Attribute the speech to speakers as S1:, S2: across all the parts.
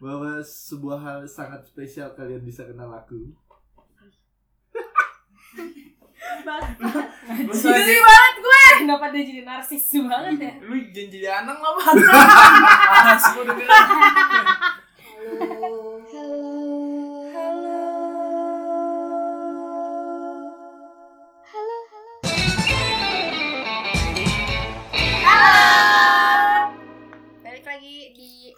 S1: bahwa sebuah hal sangat spesial kalian bisa kenal aku.
S2: Jijik banget gue. Kenapa dia jadi narsis banget
S3: Iya.
S2: ya?
S4: Lu jangan jadi anak lah Bang. Males gua dengerin.
S3: Balik lagi di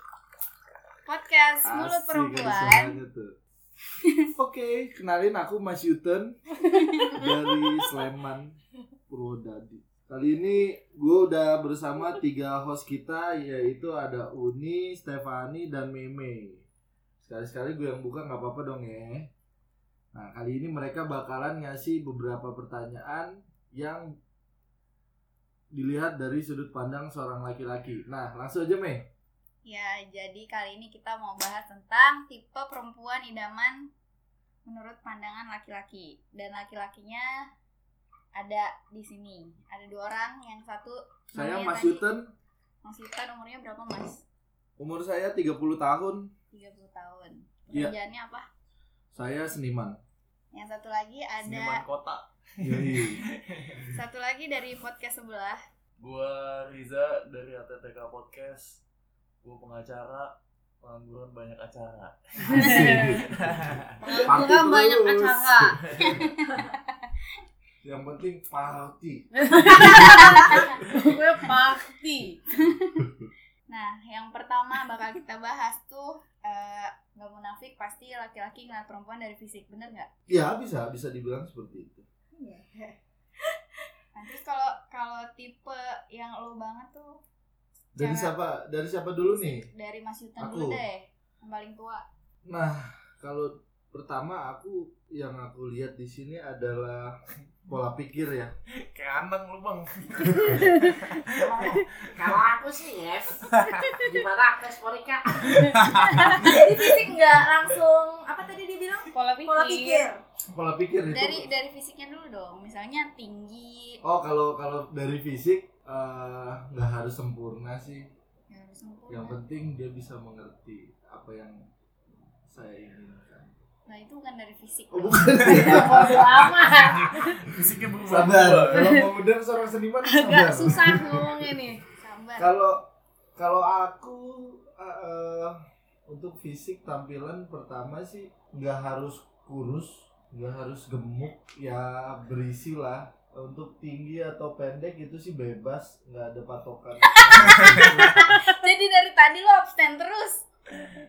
S3: podcast mulut
S1: Asik, ada
S2: ya.
S3: perempuan.
S1: suaranya tuh. Oke, kenalin aku Mas Yuten dari Sleman Purwodadi. Kali ini gue udah bersama tiga host kita yaitu ada Uni, Stefani, dan Meme. Sekali-sekali gue yang buka nggak apa-apa dong ya. Nah kali ini mereka bakalan ngasih beberapa pertanyaan yang dilihat dari sudut pandang seorang laki-laki. Nah langsung aja Meh.
S3: Ya, jadi kali ini kita mau bahas tentang tipe perempuan idaman menurut pandangan laki-laki. Dan laki-lakinya ada di sini. Ada dua orang, yang satu
S1: Saya
S3: namanya
S1: Mas
S3: tadi-
S1: Yuten,
S3: Mas Yutan umurnya berapa, Mas?
S1: umur saya 30 tahun.
S3: 30 tahun.
S1: Iya.
S3: Pekerjaannya apa?
S1: Saya seniman.
S3: Yang satu lagi ada
S4: Seniman kota.
S1: Yoi.
S3: satu lagi dari podcast sebelah.
S5: Gua Riza dari ATTK Podcast. Gua pengacara, pengangguran banyak acara.
S3: Pengangguran banyak
S1: terus.
S3: acara.
S1: Yang penting party.
S2: gue pasti.
S3: Nah, yang pertama bakal kita bahas tuh eh, nggak munafik pasti laki-laki ngeliat perempuan dari fisik, bener nggak?
S1: Ya bisa bisa dibilang seperti itu.
S3: Nah, terus kalau kalau tipe yang lo banget tuh
S1: Dari
S3: Jangan.
S1: siapa dari siapa dulu nih?
S3: dari Mas Yutan
S1: Aku.
S3: dulu deh, yang paling tua.
S1: Nah kalau pertama aku yang aku lihat di sini adalah pola pikir ya.
S4: Kayak anak lu Bang.
S6: Kalau aku sih ya, gimana aku responnya kak?
S7: Jadi fisik nggak langsung apa tadi dia bilang?
S2: Pola pikir.
S7: Pola pikir.
S1: Pola pikir itu.
S3: Dari dari fisiknya dulu dong, misalnya tinggi,
S1: Oh kalau kalau dari fisik eh, nggak harus sempurna sih.
S3: ya harus sempurna.
S1: Yang penting dia bisa mengerti apa yang saya inginkan.
S3: Nah itu bukan dari fisik.
S1: Oh,
S3: dong.
S1: bukan.
S2: Bodo amat.
S4: Fisiknya berubah.
S1: sabar. Kalau mau modern seorang seniman sabar.
S2: Gak susah ngomongnya nih.
S3: Sabar.
S1: Iya. Kalau kalau aku eh, eh, untuk fisik tampilan pertama sih nggak harus kurus, nggak harus gemuk, ya berisi lah. Untuk tinggi atau pendek itu sih bebas, nggak ada patokan.
S3: Jadi dari tadi lo abstain terus.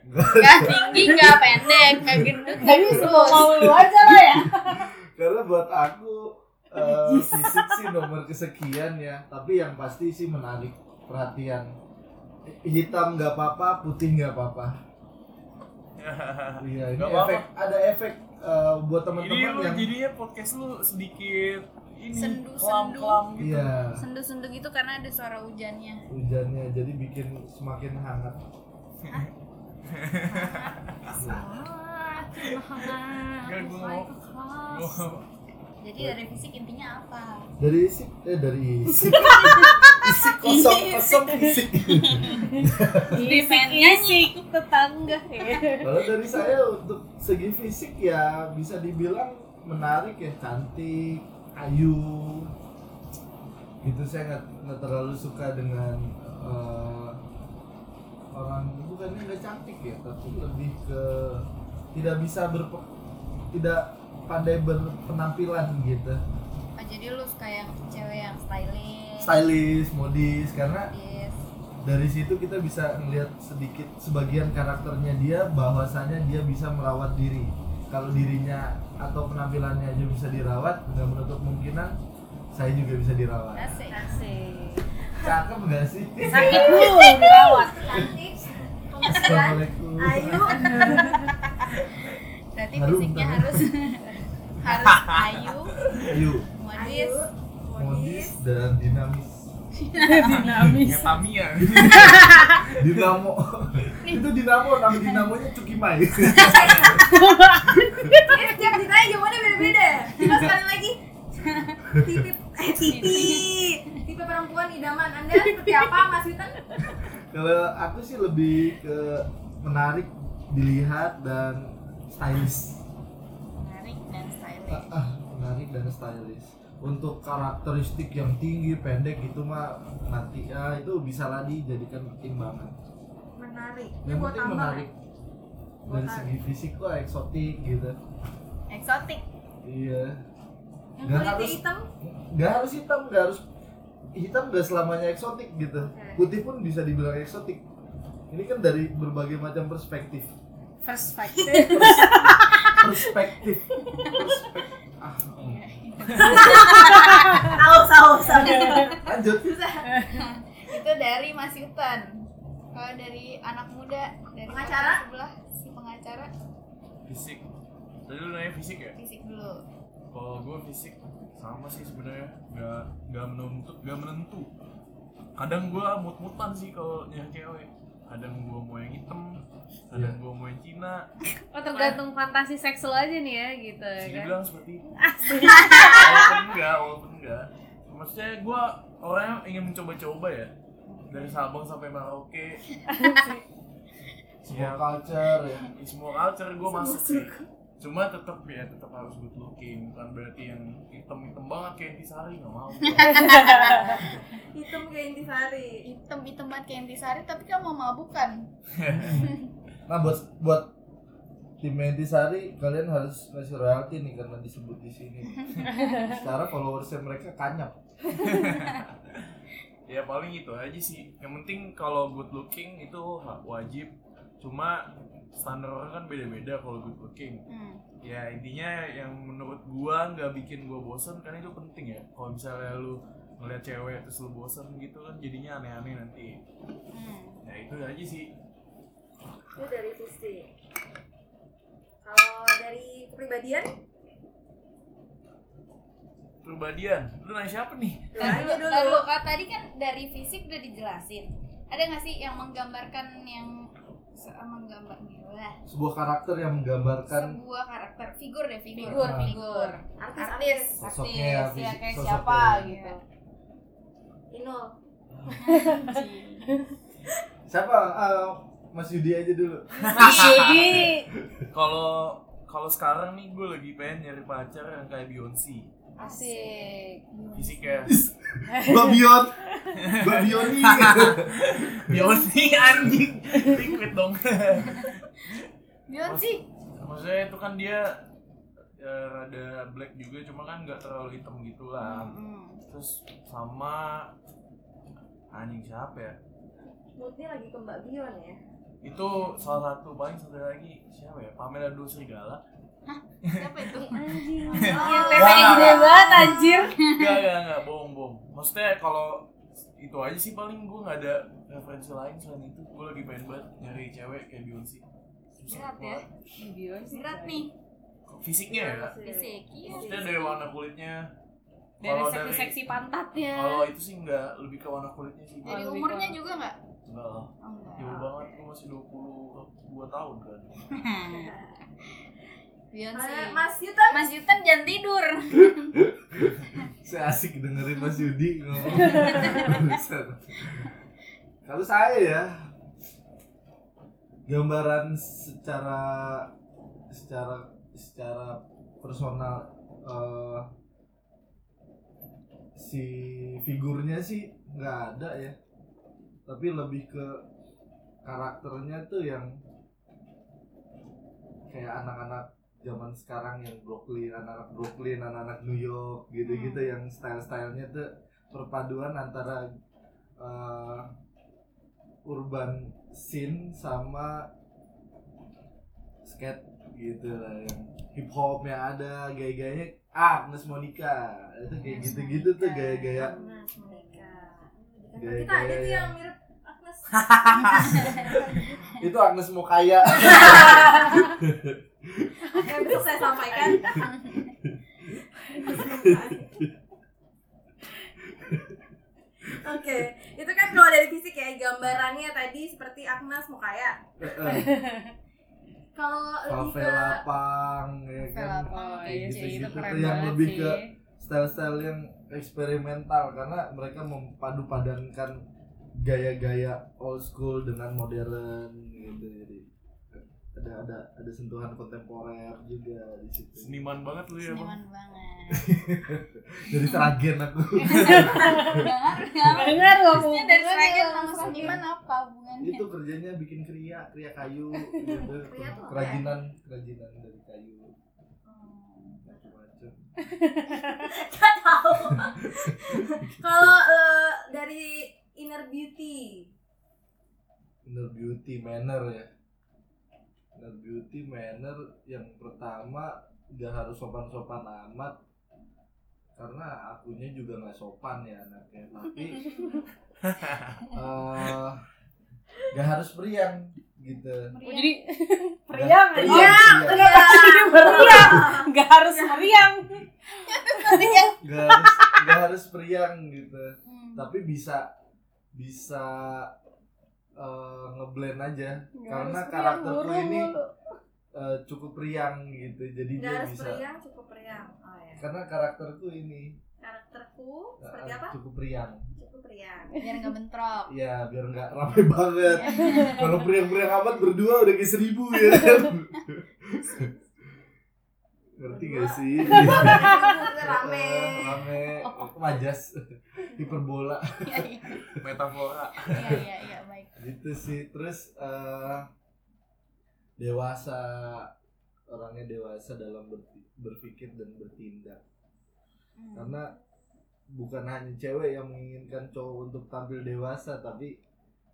S1: Nggak.
S3: Gak tinggi, gak pendek, gak gendut, gak kurus.
S2: Mau lu aja lah ya.
S1: Karena buat aku eh, fisik sih nomor kesekian ya, tapi yang pasti sih menarik perhatian. Hitam nggak apa-apa, putih nggak apa-apa. Iya, ini
S4: Gak apa-apa.
S1: efek ada efek eh, buat
S4: Ini
S1: teman-teman
S4: lu gitu.
S1: yang
S4: jadinya podcast lu sedikit ini
S3: Sendu-sendu.
S4: kelam-kelam gitu.
S1: iya
S3: Sendu-sendu gitu karena ada suara hujannya.
S1: hujannya jadi bikin semakin hangat. Iya.
S7: Ah,
S4: Gak gua mau.
S3: Jadi dari fisik intinya apa?
S1: Dari isi eh dari isi isi kosong kosong isi.
S2: Fisiknya ikut tetangga ya.
S1: Kalau dari saya untuk segi fisik ya bisa dibilang menarik ya cantik, ayu. Gitu saya nggak nggak terlalu suka dengan eh, orang bukannya nggak cantik ya, tapi lebih ke tidak bisa berpe tidak pandai berpenampilan gitu.
S3: Oh, jadi lu suka yang cewek yang stylish.
S1: Stylish, modis karena
S3: Yes.
S1: dari situ kita bisa melihat sedikit sebagian karakternya dia bahwasanya dia bisa merawat diri kalau dirinya atau penampilannya aja bisa dirawat nggak menutup kemungkinan saya juga bisa dirawat
S3: Asik.
S1: cakep nggak sih
S2: Sakit
S7: kan?
S2: lu dirawat.
S7: Cantik. Penghasilan.
S1: assalamualaikum
S7: Ayu.
S3: Berarti
S1: Harum,
S3: fisiknya
S1: tangan.
S3: harus harus ayu,
S1: ayu
S3: modis,
S7: Ayu.
S1: modis dan dinamis
S2: Dinamis.
S4: Ya Tamiya.
S1: dinamo itu dinamo nama dinamonya cukimai
S7: Ini tiap ditanya jawabannya beda-beda. Coba sekali lagi. Tipe eh tipi. Tipe perempuan idaman Anda seperti apa Mas Witan?
S1: kalau aku sih lebih ke menarik dilihat dan stylish
S3: menarik dan stylish
S1: Ah, ah, menarik dan stylish untuk karakteristik yang tinggi pendek gitu mah nanti ah, itu bisa lah dijadikan timbangan
S7: menarik ini
S1: yang
S7: buat
S1: penting
S7: tambah
S1: menarik dari segi fisik kok eksotik gitu
S3: eksotik
S1: iya
S7: yang
S1: Nggak
S7: kulitnya
S1: harus.
S7: hitam
S1: nggak harus hitam nggak harus hitam nggak selamanya eksotik gitu
S7: Oke.
S1: putih pun bisa dibilang eksotik ini kan dari berbagai macam perspektif
S3: perspektif
S1: perspektif Perspek- ah, mm.
S7: saus saus
S1: lanjut
S3: itu dari Mas Yutan kalau dari anak muda dari
S7: Pengacara?
S3: kota sebelah si pengacara
S5: fisik tadi lu nanya fisik ya
S3: fisik dulu
S5: kalau gue fisik sama sih sebenarnya nggak nggak menentu nggak menentu kadang gue mut mutan sih kalau nyari cewek kadang gue mau yang hitam kadang gue mau yang Cina
S2: Oh tergantung fantasi seks lo aja nih ya gitu
S5: bisa
S2: kan.
S5: dibilang seperti itu walaupun enggak walaupun enggak maksudnya gue orangnya ingin mencoba-coba ya dari Sabang sampai Merauke
S1: semua
S5: Siap.
S1: culture ya
S5: Di semua culture gue masuk sih cuma tetap ya tetap harus good looking bukan berarti yang hitam hitam banget kayak Intisari nggak mau
S7: hitam kayak intisari
S3: hitam hitam banget kayak Intisari tapi kamu mau mabukan
S1: Nah buat buat tim Sari kalian harus ngasih royalti nih karena disebut di sini. Secara followersnya mereka kanyap.
S5: ya paling itu aja sih yang penting kalau good looking itu ha- wajib cuma standar orang kan beda-beda kalau good looking
S3: hmm.
S5: ya intinya yang menurut gua nggak bikin gua bosen karena itu penting ya kalau misalnya lu ngeliat cewek terus lu bosen gitu kan jadinya aneh-aneh nanti
S3: Hmm.
S5: ya itu aja sih
S7: itu dari fisik kalau dari kepribadian
S5: perbadian lu nanya siapa nih
S3: Tadi-
S7: doanya Eh, Nah, dulu
S3: Kalau kalau tadi kan dari fisik udah dijelasin. Ada nggak sih yang menggambarkan yang se- menggambar wah,
S1: Sebuah karakter yang menggambarkan
S3: sebuah karakter figur deh figur Nah.
S2: Figur,
S1: Ah.
S2: figur.
S7: artis artis
S3: artis
S1: Sosoknya,
S2: Artis, ya
S1: fisik-
S2: kayak
S1: sosoknya.
S2: siapa gitu.
S7: Inul
S1: siapa? Ah, Mas Yudi aja dulu.
S2: Mas Yudi.
S5: kalau kalau sekarang nih gua lagi pengen nyari pacar yang kayak Beyonce ya.
S2: Asik.
S5: fisiknya
S1: Babion, Babioni.
S5: Beyonce anjing liquid dong
S3: Beyonce
S5: maksudnya itu kan dia ya, rada black juga cuma kan nggak terlalu hitam gitu
S3: Hmm,
S5: lah terus sama anjing siapa ya
S7: moodnya lagi ke Mbak Bion ya
S5: itu salah satu paling satu lagi siapa ya Pamela Dulu Serigala
S3: siapa itu
S2: Iya,
S7: Oh.
S2: teteknya gede banget anjir.
S5: enggak enggak enggak bohong bohong maksudnya kalau itu aja sih paling gue nggak ada referensi lain selain itu gue lagi pengen banget nyari cewek kayak Beyonce Susah
S3: Berat ya?
S5: banget.
S3: berat nih
S5: fisiknya ya
S3: fisik iya
S5: maksudnya dari warna kulitnya
S2: Dari
S5: Kalau
S2: seksi-seksi
S5: kalau
S2: pantatnya.
S5: itu sih nggak lebih ke warna kulitnya sih
S3: dari
S2: Lebih
S3: umurnya
S2: kurang.
S3: juga nggak
S5: enggak lah
S3: oh, enggak.
S5: jauh banget gue masih 22 tahun kan
S3: Beyonce
S7: Eh, Mas Yuta
S3: Iya. Mas Yutan jangan tidur
S1: Saya asik dengerin Mas Yudi ngomong. Barusan. Kalau saya ya gambaran secara secara secara personal eh, si figurnya sih nggak ada ya tapi lebih ke karakternya tuh yang kayak anak-anak zaman sekarang yang Brooklyn, anak-anak Brooklyn, anak-anak New York gitu-gitu yang style-stylenya tuh perpaduan antara eh, urban scene sama skate gitu lah yang hip hop yang ada gaya-gayanya ah Agnes Monica itu kayak
S3: Agnes
S1: gitu-gitu tuh
S3: Monica.
S1: gaya-gaya
S7: Agnes mereka
S1: Gaya-
S7: kita ada
S1: gaya
S7: tuh
S1: yang-
S7: yang mirip Agnes
S3: Iya,
S1: itu Agnes mau kaya
S7: Oke, besok saya sampaikan. Oke, itu kan kalau dari fisik ya gambarannya tadi seperti Agnes Mukaya. Kalau lebih ke
S1: favela pang ya kan
S2: Oh,
S3: Velapang,
S1: Kayak
S2: iya sih, itu
S1: gitu-gitu
S2: keren
S1: tuh yang
S2: banget
S1: lebih
S2: sih.
S1: ke style-style yang eksperimental karena mereka mempadu padankan gaya-gaya old school dengan modern gitu jadi ada ada sentuhan kontemporer juga di situ.
S5: Seniman banget lu ya, Bang.
S3: Seniman banget.
S1: Jadi seragen aku.
S3: Dengar nggak?
S2: Dengar lo
S3: Maksudnya dari seragen sama seniman apa hubungannya?
S1: itu kerjanya bikin kriya, kriya kayu gitu.
S7: Kriya tuh apa ya? Oh.
S1: Kerajinan, kerajinan dari kayu. Macam-macam.
S7: Gak tahu. Kalau eh, dari inner beauty,
S1: inner beauty manner ya inner beauty manner yang pertama nggak harus sopan sopan amat karena akunya juga nggak sopan ya anaknya tapi eh, nggak harus periang gitu
S2: Oh, jadi
S1: Meriang,
S7: meriang,
S2: Jadi
S7: Iya.
S2: meriang. Nggak harus meriang.
S1: nggak harus nggak harus periang gitu
S3: Hmm.
S1: tapi bisa bisa eh, ngeblend aja
S2: Nggak
S1: karena
S2: harus meriang,
S1: karakterku
S2: murung
S1: ini
S2: mulu.
S1: eh, cukup riang gitu jadi
S7: nggak
S1: dia
S7: harus
S1: bisa
S7: periang, cukup periang. Oh ya.
S1: karena karakterku ini
S7: Karakterku
S1: eh,
S7: seperti apa?
S1: cukup riang
S7: Cukup periang.
S3: Biar nggak bentrok.
S1: ya biar nggak rame banget
S7: Iya.
S1: kalau priang-priang amat berdua udah kayak seribu ya kan ngerti gak sih
S7: Kita rame.
S1: Eh, rame majas hiperbola
S3: Iya iya
S5: Metafora.
S3: iya iya iya baik.
S1: gitu sih terus eh, dewasa orangnya dewasa dalam ber- berpikir dan bertindak
S3: Hmm.
S1: karena bukan hanya cewek yang menginginkan cowok untuk tampil dewasa tapi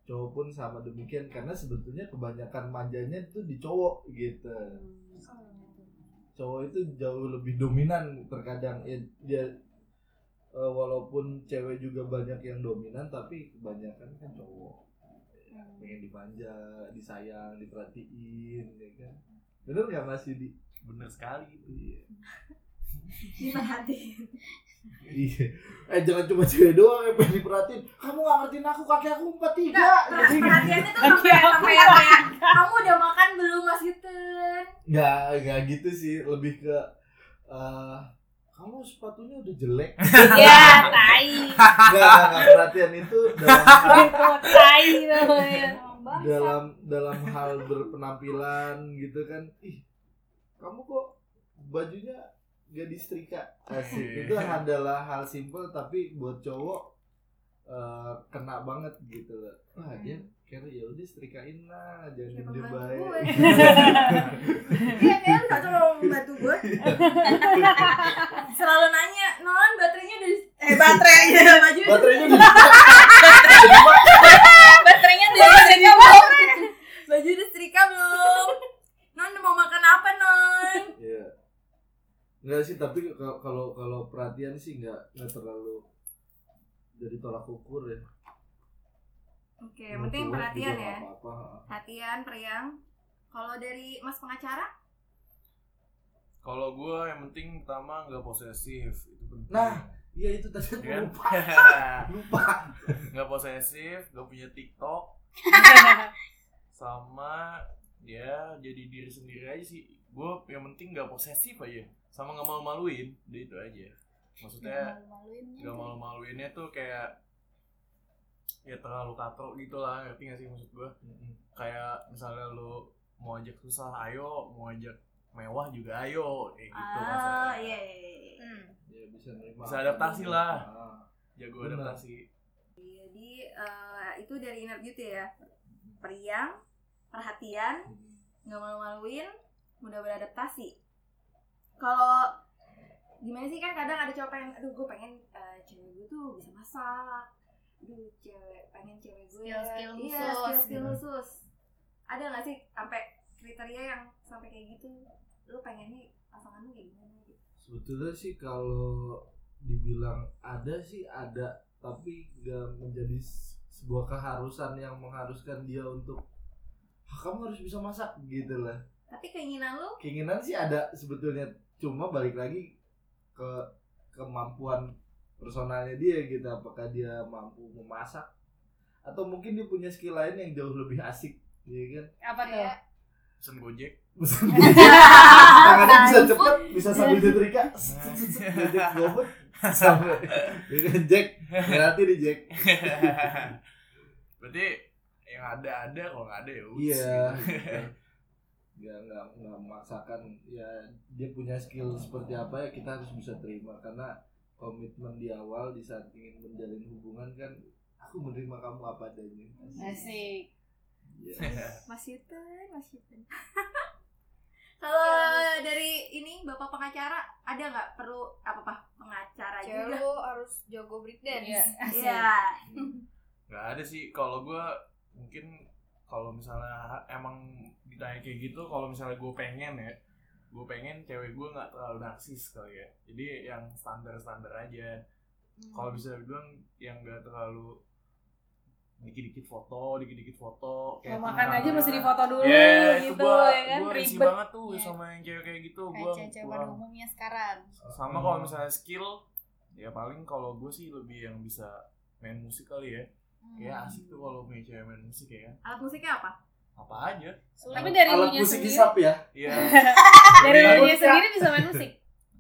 S1: cowok pun sama demikian karena sebetulnya kebanyakan manjanya itu di cowok gitu cowok itu jauh lebih dominan terkadang ya, dia eh, walaupun cewek juga banyak yang dominan tapi kebanyakan kan cowok Ya, pengen dimanja disayang diperhatiin ya kan bener nggak mas Yudi
S5: Bener sekali.
S1: iya
S7: Diperhatiin.
S1: Iya. Eh jangan cuma cewek doang yang pengen diperhatiin. Kamu gak ngertiin aku kaki aku empat tiga.
S7: Perhatiannya tuh sampai sampai yang kayak kamu udah makan belum Mas Yuten?
S1: Gak gak gitu sih. Lebih ke eh kamu sepatunya udah jelek.
S2: Ya, tai.
S1: Gak, gak, gak. perhatian itu dalam
S2: Itu tai
S3: gitu,
S2: namanya.
S3: ya.
S1: dalam dalam hal berpenampilan gitu kan. Ih kamu kok bajunya gak disetrika asik itu adalah hal simple tapi buat cowok eh, kena banget gitu loh wah dia kira ya udah setrikain lah jangan
S7: Hmm. Siapa
S1: diem
S7: bantu
S1: bae."
S7: gue? Iya, kayaknya bisa coba membantu gue. Selalu nanya, non baterainya udah di- eh baterainya baju
S1: baterainya udah
S3: Baterainya dari dari awal.
S7: baju udah setrika belum? Non mau makan apa non?
S1: Iya. Enggak sih, tapi kalau- kalau kalau perhatian sih enggak enggak terlalu dari tolak ukur ya.
S7: Oke, yang penting
S1: Mau curhat
S7: perhatian
S1: juga
S7: ya.
S1: nggak apa-apa.
S7: Perhatian, periang. Kalau dari Mas pengacara?
S5: Kalau gue yang penting pertama nggak posesif itu penting.
S1: Nah, Iya itu tadi aku
S5: Ya kan?
S1: lupa. Lupa.
S5: nggak posesif, nggak punya TikTok, sama ya jadi diri sendiri aja sih. Gue yang penting nggak posesif aja, sama nggak malu-maluin, udah itu aja. Maksudnya
S7: Iya
S5: nggak malu-maluinnya tuh kayak ya terlalu katro gitu lah ngerti gak sih maksud gue kayak misalnya lu mau ajak susah ayo mau ajak mewah juga ayo kayak gitu
S7: Ah,
S5: maksudnya.
S7: iya iya iya.
S3: Hmm.
S1: Ya bisa nerima.
S5: Bisa adaptasi lah.
S1: Ah.
S5: jago
S1: Benar.
S5: adaptasi
S7: Jadi eh, itu dari inner beauty ya. Periang, perhatian, nggak malu-maluin, mudah beradaptasi. Kalau gimana sih kan kadang ada cowok pengen, aduh gue pengen eh, cewek gue tuh bisa masak, aduh cewek pengen cewek gue
S3: Skill-skill
S7: iya,
S3: khusus.
S7: skill-skill
S5: Hmm.
S7: khusus. Ada nggak sih sampai kriteria yang sampai kayak gitu? Lu pengennya pasangan lu kayak gimana? gitu?
S1: Sebetulnya sih kalau dibilang ada sih ada, tapi nggak menjadi s- sebuah keharusan yang mengharuskan dia untuk "Ah, kamu harus bisa masak gitu lah.
S7: Tapi keinginan lu
S1: keinginan sih ada sebetulnya cuma balik lagi ke kemampuan personalnya dia gitu apakah dia mampu memasak atau mungkin dia punya skill lain yang jauh lebih asik ya kan
S2: Apa tuh?
S5: pesen gojek
S1: Bisa- tangannya bisa cepet bisa sambil setrika jack gobut sampai ya kan jack nanti di jack
S5: berarti yang ada ada kalau nggak ada ya udah
S1: iya nggak nggak nggak memaksakan ya dia punya skill seperti apa ya kita harus bisa terima karena komitmen di awal di saat ingin menjalin hubungan kan aku menerima kamu apa adanya
S2: Iya Asik.
S1: Yes.
S7: Mas Yuten, Mas Iya, Yuten. Kalau dari ini bapak pengacara ada nggak perlu apa apa pengacara
S3: Cewek
S7: juga?
S3: lu harus jago breakdance
S2: Iya.
S7: Iya.
S5: nggak ada sih kalau gue mungkin kalau misalnya emang ditanya kayak gitu kalau misalnya gue pengen ya gue pengen cewek gue nggak terlalu narsis kali ya jadi yang standar standar aja kalau bisa bilang yang nggak terlalu dikit-dikit foto, dikit-dikit
S2: Mau
S5: foto. kayak
S2: makan
S3: Kan
S5: tentang-
S2: aja mesti difoto dulu
S5: Iya, itu
S2: gitu
S5: gua,
S2: ya kan
S5: gua risih
S2: ribet.
S5: banget tuh
S3: Iya.
S5: sama yang cewek kayak gitu.
S3: kayak
S5: Gua
S3: cewek-cewek pada
S5: kurang
S3: umumnya sekarang
S5: sama kalau misalnya skill ya paling kalau gue sih lebih yang bisa main musik kali ya
S3: Hmm.
S5: ya asik tuh kalau punya cewek main musik ya
S7: Alat musiknya apa?
S5: apa aja
S2: Tapi dari
S1: alat
S2: lunya
S1: musik
S2: sendiri,
S1: hisap ya
S5: ya
S2: dari
S5: Iya.
S2: lunya sendiri bisa main musik.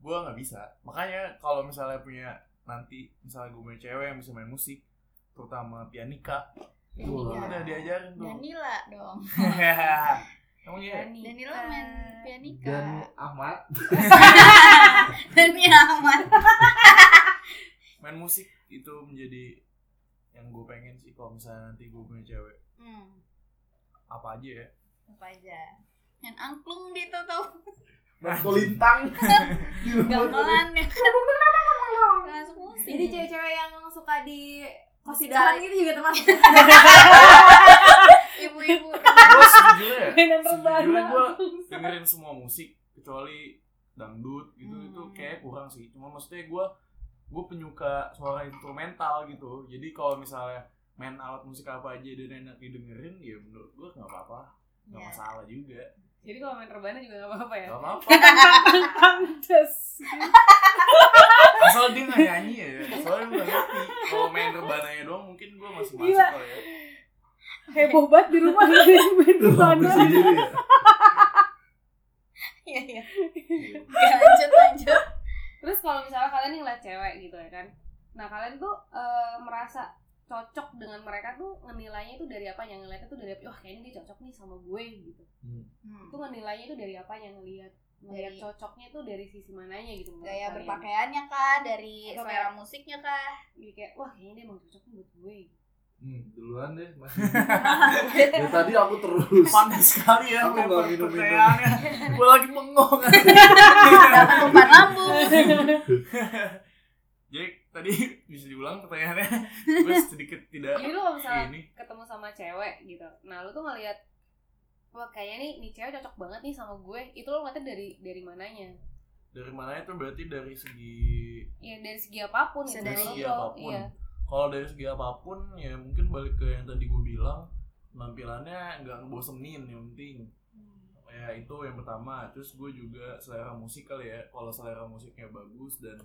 S5: gue nggak bisa makanya kalau misalnya punya nanti misalnya gue punya cewek yang bisa main musik terutama pianika itu
S1: Wah.
S5: Iya, udah diajarin tuh
S3: Iya. Danila dong
S5: emang ya
S3: Danila main pianika
S1: dan Ahmad
S3: Danila aman
S5: main musik itu menjadi yang gue pengen sih kalau misalnya nanti gue punya cewek
S3: hmm,
S5: apa aja ya
S3: apa aja main angklung gitu tuh
S1: kolintang di rumah
S3: gamelan ya kan masuk musik
S7: Jadi cewek-cewek yang suka di
S3: Kosidahan
S7: kosidahan gitu juga termasuk.
S3: ibu-ibu
S5: gue sejujurnya ya
S2: Mainan
S5: sejujurnya
S2: rebana.
S5: gue dengerin semua musik kecuali dangdut gitu
S3: Hmm.
S5: itu kayak kurang sih cuma maksudnya gue gue penyuka suara instrumental gitu jadi kalau misalnya main alat musik apa aja dan enak didengerin ya menurut gue nggak apa-apa nggak
S3: ya.
S5: masalah juga
S2: Iya. Jadi kalau main rebana juga nggak apa-apa ya.
S5: nggak apa-apa
S2: Pantes.
S5: asal dia nggak nyanyi ya soalnya gue ngerti kalau main rebananya doang mungkin gue masih masuk
S2: Gila.
S5: kali ya
S2: Heboh banget di rumah main
S1: Tuh, hampir
S2: rebana.
S1: sendiri ya.
S3: Iya, iya. Oke, lanjut lanjut
S2: Terus kalau misalnya kalian nih ngeliat cewek gitu ya kan. Nah, kalian tuh eh, merasa cocok dengan mereka tuh ngenilainya tuh dari apa yang ngeliatnya tuh dari apa? Wah, kayaknya dia cocok nih sama gue gitu. Itu
S3: Hmm.
S2: ngenilainya tuh dari apa yang ngeliat? Ngeliat
S3: Dari-
S2: cocoknya tuh dari sisi mananya gitu menurut
S3: gaya
S2: kalian?
S3: berpakaiannya kah dari
S2: Atau
S3: selera musiknya kah
S2: Jadi kayak wah kayaknya dia emang cocok nih buat gue.
S1: Hmm, duluan deh mas ya tadi aku terus
S5: panas sekali ya
S1: Aku nggak
S5: lempar
S1: minum-minum.
S5: pertanyaannya gue lagi Iya. mengong
S3: dapat umpan lambung
S5: jadi tadi bisa diulang pertanyaannya gue sedikit tidak
S2: Jadi lu kalau misalnya
S5: ini
S2: ketemu sama cewek gitu. Nah, lu tuh ngeliat wah kayaknya nih nih cewek cocok banget nih sama gue. Itu lu ngeliatnya dari dari mananya?
S5: dari mana itu berarti dari segi
S2: Ya dari segi apapun gitu.
S3: Dari
S5: dari segi
S2: Ngobrol,
S5: apapun
S2: Iya.
S5: kalau dari segi apapun ya mungkin balik ke yang tadi gue bilang penampilannya nggak ngebosenin yang penting ya itu yang pertama terus gue juga selera musik kali ya kalau selera musiknya bagus dan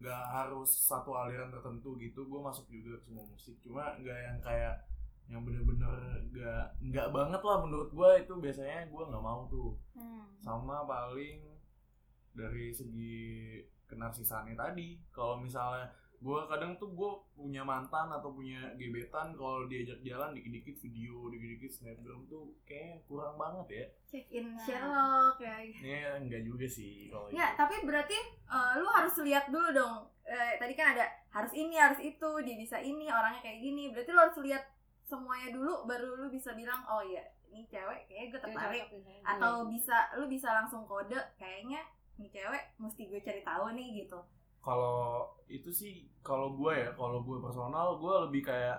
S5: nggak harus satu aliran tertentu gitu gue masuk juga ke semua musik cuma nggak yang kayak yang bener-bener nggak nggak banget lah menurut gue itu biasanya gue nggak mau tuh
S3: Hmm.
S5: sama paling dari segi kenarsisannya tadi kalau misalnya gue kadang tuh gue punya mantan atau punya gebetan kalau diajak jalan dikit-dikit video dikit-dikit snapgram tuh kayak kurang banget ya
S7: Check in Sherlock ya.
S5: ya enggak juga sih kalau itu.
S7: Nggak, tapi berarti eh, lu harus lihat dulu dong. Eh, tadi kan ada harus ini, harus itu, dia bisa ini, orangnya kayak gini. Berarti lu harus lihat semuanya dulu baru lu bisa bilang, "Oh iya, ini cewek kayaknya gue
S2: Cewek
S7: tertarik."
S2: cocok misalnya.
S1: Iya.
S7: Atau bisa lu bisa langsung kode, kayaknya ini cewek mesti gue cari tahu nih gitu.
S5: kalau itu sih kalau gue ya kalau gue personal gue lebih kayak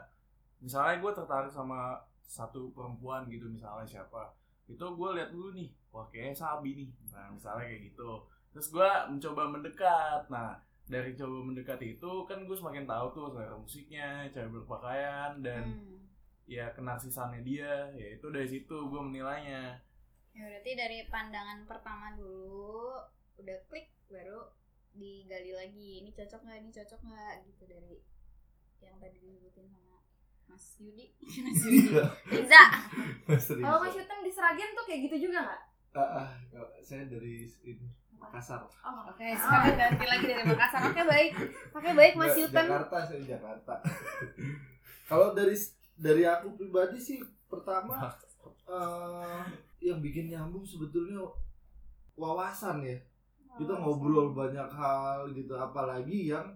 S5: misalnya gue tertarik sama satu perempuan gitu misalnya siapa itu gue lihat dulu nih wah kayaknya sabi nih nah misalnya kayak gitu terus gue mencoba mendekat nah dari coba mendekat itu kan gue semakin tahu tuh selera musiknya cara berpakaian
S3: Hmm.
S5: dan ya kenarsisannya dia ya itu dari situ gue menilainya
S3: ya berarti dari pandangan pertama dulu udah klik baru digali lagi ini cocok nggak ini cocok nggak gitu dari yang tadi disebutin sama Mas Yudi Mas Yudi Riza
S1: Iya. Serius.
S7: Kalau Mas Yutem di Seragen tuh kayak gitu juga nggak?
S1: Ah, ah, saya dari ini Makassar
S7: Oh, nggak.
S2: Oke, sekarang ganti lagi dari Makassar. Oke, baik. Oke, baik Mas
S1: Nggak,
S2: Yutan.
S1: Jakarta saya di Jakarta kalau dari dari aku pribadi sih pertama eh, yang bikin nyambung sebetulnya wawasan ya kita ngobrol banyak hal gitu apalagi yang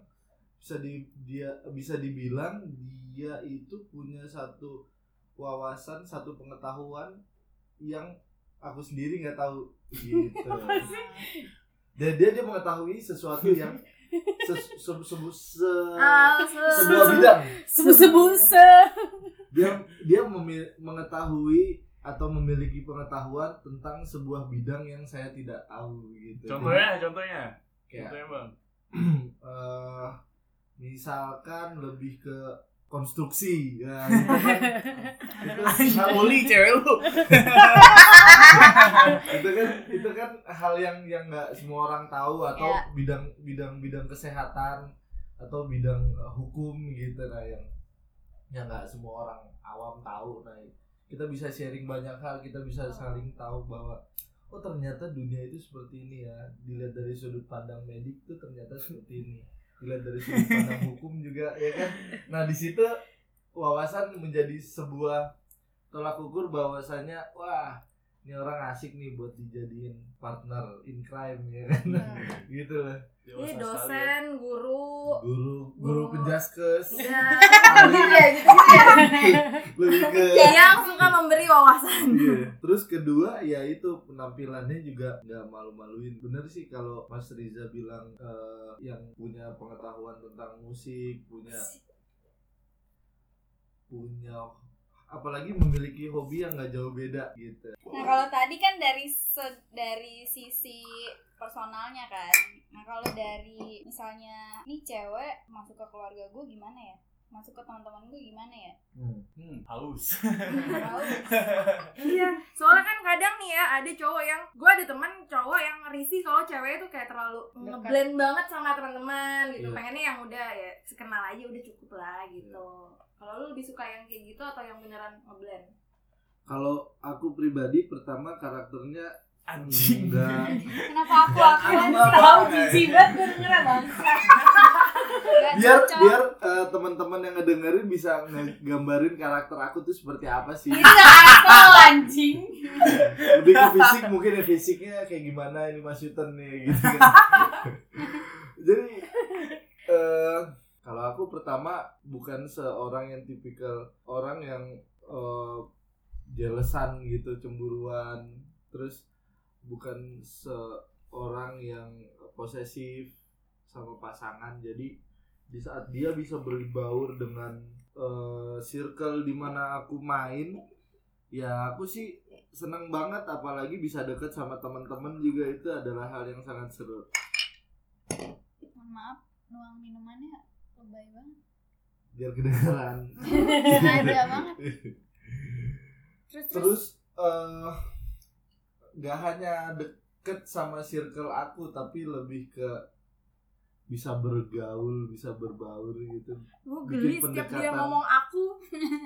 S1: bisa di dia bisa dibilang dia itu punya satu wawasan satu pengetahuan yang aku sendiri nggak tahu gitu dan dia dia mengetahui sesuatu yang ses- se- se- se-
S7: Ah,
S1: sebuah bidang
S8: Sebu-sebu se.
S1: dia dia memi- mengetahui atau memiliki pengetahuan tentang sebuah bidang yang saya tidak tahu gitu
S5: Contohnya, contohnya.
S1: Kayak-
S5: Contohnya, Bang.
S1: eh misalkan lebih ke konstruksi ya itu kan, Nah, itu hal,
S5: Oli cewek lu.
S1: itu kan itu kan hal yang yang nggak semua orang tahu atau
S3: Ya.
S1: bidang bidang bidang kesehatan atau bidang eh, hukum gitu nah yang yang nggak semua orang awam tahu nah kita bisa sharing banyak hal kita bisa saling tahu bahwa oh ternyata dunia itu seperti ini ya dilihat dari sudut pandang medik tuh ternyata seperti ini dilihat dari sudut pandang hukum juga ya kan nah di situ wawasan menjadi sebuah tolak ukur bahwasanya wah ini orang asik nih buat dijadiin partner in crime ya kan gitu lah
S7: Ini
S5: ya.
S7: dosen,
S1: ya.
S7: guru,
S1: guru guru
S7: Guru.
S1: penjaskes
S7: ya,
S3: Nah,
S1: Iya,
S7: gitu
S1: lebih ke
S7: yang suka memberi wawasan.
S1: Iya. Terus kedua ya itu penampilannya juga nggak malu-maluin. Bener sih kalau Mas Riza bilang eh, yang punya pengetahuan tentang musik, punya punya apalagi memiliki hobi yang nggak jauh beda gitu.
S3: Nah kalau tadi kan dari se- dari sisi personalnya kan. Nah kalau dari misalnya nih cewek masuk ke keluarga gue gimana ya? Masuk ke teman-teman gue gimana ya?
S5: Hmm, haus.
S3: Tahu.
S7: Iya, soalnya kan kadang nih ya ada cowok yang gue ada teman cowok yang risih kalau cewek itu kayak terlalu ngeblend banget sama teman-teman gitu.
S1: Iya.
S7: Pengennya yang udah ya sekenal aja udah cukup lah gitu.
S1: Iya.
S7: Kalau lu lebih suka yang kayak gitu atau yang beneran ngeblend?
S1: Kalau aku pribadi pertama karakternya
S5: Anjing.
S1: enggak
S3: Kenapa aku aku
S8: Tahu jijik banget gue dengernya bang.
S3: nggak
S1: biar
S3: cocok?
S1: biar eh, teman-teman yang ngedengerin bisa ngegambarin karakter aku tuh seperti apa sih
S8: Bisa apel anjing.
S1: lebih ke fisik mungkin ya fisiknya kayak gimana ini Mas Yuten nih gitu kan. jadi eh kalau aku pertama bukan seorang yang tipikal orang yang eh jelesan gitu cemburuan terus bukan seorang yang posesif sama pasangan jadi di saat dia bisa berbaur dengan eh, circle di mana aku main ya aku sih seneng banget apalagi bisa deket sama teman-teman juga itu adalah hal yang sangat seru
S3: Mohon maaf, nuang minumannya lebay banget.
S1: biar kedengeran Iya.
S3: Ada banget. Terus terus.
S1: terus eh gak hanya deket sama circle aku tapi lebih ke bisa bergaul bisa berbaur gitu
S7: Gue
S1: Bikin
S7: geli setiap dia
S1: pendekatan.
S7: ngomong aku.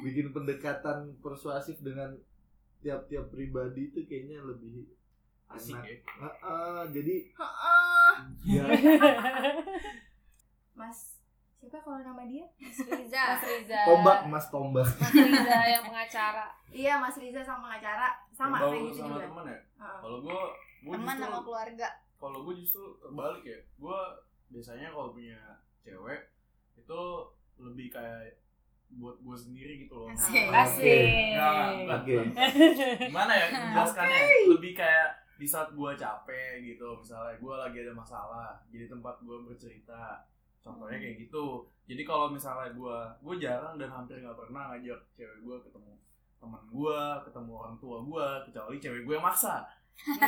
S1: bikin pendekatan persuasif dengan tiap-tiap pribadi itu kayaknya lebih
S5: Asik
S1: enak
S5: ya.
S1: Ah, ah, jadi
S3: Ah.
S7: Heeh.
S1: ya
S7: Mas siapa kalau nama dia?
S3: Riza.
S2: Mas Riza
S1: tombak mas tombak
S2: Mas Riza yang pengacara
S7: Iya Mas Riza sama pengacara sama
S5: Kalau
S7: kayak
S5: lu
S7: gitu
S5: sama
S7: juga.
S5: teman ya.
S7: Heeh.
S5: Kalau gua gua
S3: Teman
S5: justru
S3: sama keluarga.
S5: kalau gua justru terbalik ya. Gua biasanya kalau punya cewek itu lebih kayak buat gua sendiri gitu loh.
S3: Asik.
S8: Asik.
S5: Enggak, enggak,
S1: Oke. Ya,
S5: Gimana ya menjelaskannya? Lebih kayak di saat gua capek gitu, misalnya gua lagi ada masalah, jadi tempat gua bercerita. Contohnya kayak gitu. Jadi kalau misalnya gua gua jarang dan hampir nggak pernah ngajak cewek gua ketemu teman gua, ketemu orang tua gua, kecuali cewek gua yang maksa. Nah,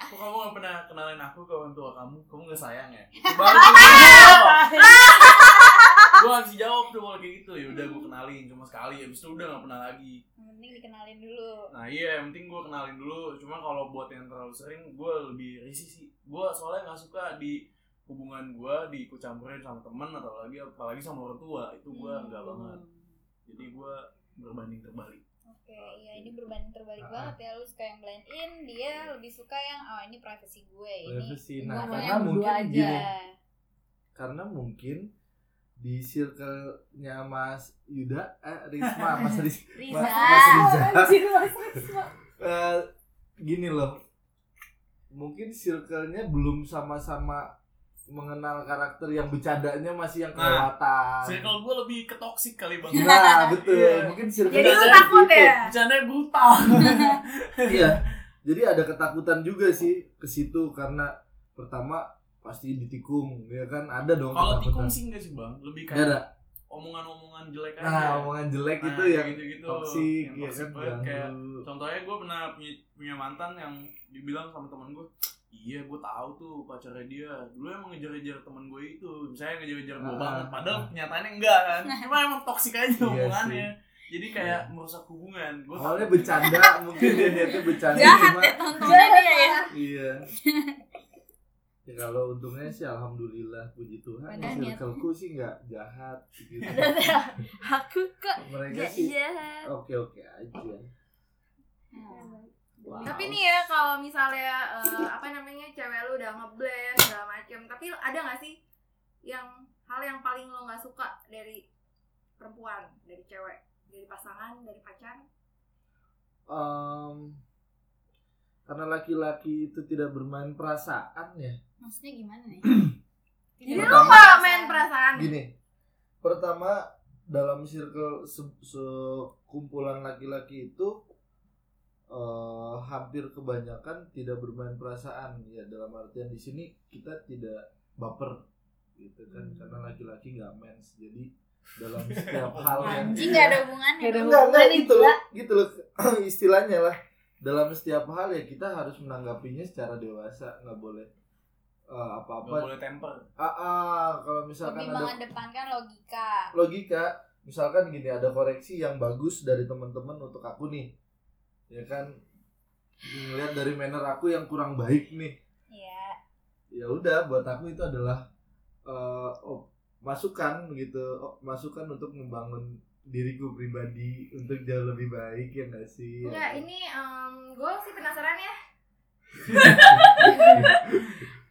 S5: kok kamu gak pernah kenalin aku ke orang tua kamu? Kamu gak sayang ya? Itu baru tuh gua bisa jawab. Gua gak bisa jawab tuh kalau kayak gitu. Ya udah gua kenalin cuma sekali, habis itu udah gak pernah lagi.
S3: Yang penting dikenalin dulu.
S5: Nah iya yang penting gue kenalin dulu Cuma kalau buat yang terlalu sering gue lebih risih sih Gue soalnya gak suka di hubungan gue dikucampurin sama temen Atau lagi apalagi sama orang tua Itu gue nggak banget Jadi gue berbanding terbalik
S3: Oke, iya ini berbanding terbalik
S1: Ah.
S3: banget ya. Lu suka yang blend in, dia lebih suka yang oh ini privasi gue ini.
S1: Privacy. Nah,
S3: gue mau
S1: karena
S3: yang
S1: mungkin
S3: berdua aja.
S1: gini. karena mungkin di circle-nya Mas Yuda, eh Risma, Mas Ris-
S3: Riza.
S1: Mas, Mas Riza.
S8: Anjir Mas Risma.
S1: Eh, gini loh, mungkin circle-nya belum sama-sama mengenal karakter yang bercandanya masih yang
S5: Nah,
S1: kelewatan.
S5: Circle gue lebih ke toxic kali bang.
S1: Nah, betul.
S5: Iya.
S1: Mungkin circle
S5: Jadi lu
S3: takut ya?
S5: Bercanda brutal.
S1: Iya. Jadi ada ketakutan juga sih ke situ karena pertama pasti ditikung, ya kan? Ada dong
S5: Kalau tikung
S1: ketakutan.
S5: sih enggak sih bang, lebih
S1: Nggak Iya, ada.
S5: kayak omongan-omongan jelek aja.
S1: Nah, omongan jelek
S5: Nah,
S1: itu yang
S5: gitu-gitu.
S1: toksik,
S5: Yang
S1: ya
S5: toxic
S1: kan?
S5: banget, kayak
S1: ganggu.
S5: contohnya gue pernah punya, punya mantan yang dibilang sama teman gue iya gue tahu tuh pacarnya dia dulu emang ngejar-ngejar teman gue itu misalnya ngejar-ngejar gue
S1: Ah,
S5: banget padahal
S1: ah.
S5: kenyataannya enggak kan cuma emang toksik aja
S1: Iya
S5: hubungannya jadi kayak merusak hubungan gue
S1: Awalnya bercanda, mungkin dia niatnya bercanda
S3: Jahat
S1: cuma
S3: ya tontonnya dia ya.
S1: iya. Ya kalau untungnya sih alhamdulillah puji Tuhan
S3: Padahal niat-
S1: circleku sih nggak jahat gitu.
S3: Aku kok
S1: Mereka
S7: Iya,
S1: Iya
S3: gak
S1: sih
S3: jahat.
S1: oke-oke aja. Wow.
S7: Tapi nih ya kalau misalnya eh, apa namanya cewek lu udah ngeblend segala macem, tapi ada nggak sih yang hal yang paling lo nggak suka dari perempuan, dari cewek, dari pasangan, dari pacar?
S1: Em, karena laki-laki itu tidak bermain perasaan ya.
S3: Maksudnya gimana nih?
S7: Jadi lu
S1: Pertama-
S7: nggak main perasaan?
S1: Gini, pertama dalam circle se- sekumpulan laki-laki itu eh, hampir kebanyakan tidak bermain perasaan ya dalam artian di sini kita tidak baper gitu kan karena laki-laki nggak mens jadi dalam setiap hal yang
S3: Anjing gak ada hubungannya.
S8: Nggak ada
S1: enggak enggak
S3: hubungannya,
S1: gitu
S3: gila.
S1: loh gitu loh istilahnya lah dalam setiap hal ya kita harus menanggapinya secara dewasa nggak boleh eh,
S5: gak
S1: apa-apa
S5: boleh temper
S1: ah, ah, kalau
S3: Lebih
S1: misalkan ada
S3: mengedepankan logika.
S1: logika misalkan gini ada koreksi yang bagus dari teman-teman untuk aku nih ya kan ngelihat dari manner aku yang kurang baik nih
S3: Iya.
S1: ya udah buat aku itu adalah eh, op- masukan gitu op- masukan untuk membangun diriku pribadi untuk jauh lebih baik ya nggak sih
S7: Enggak, ini gue sih penasaran ya.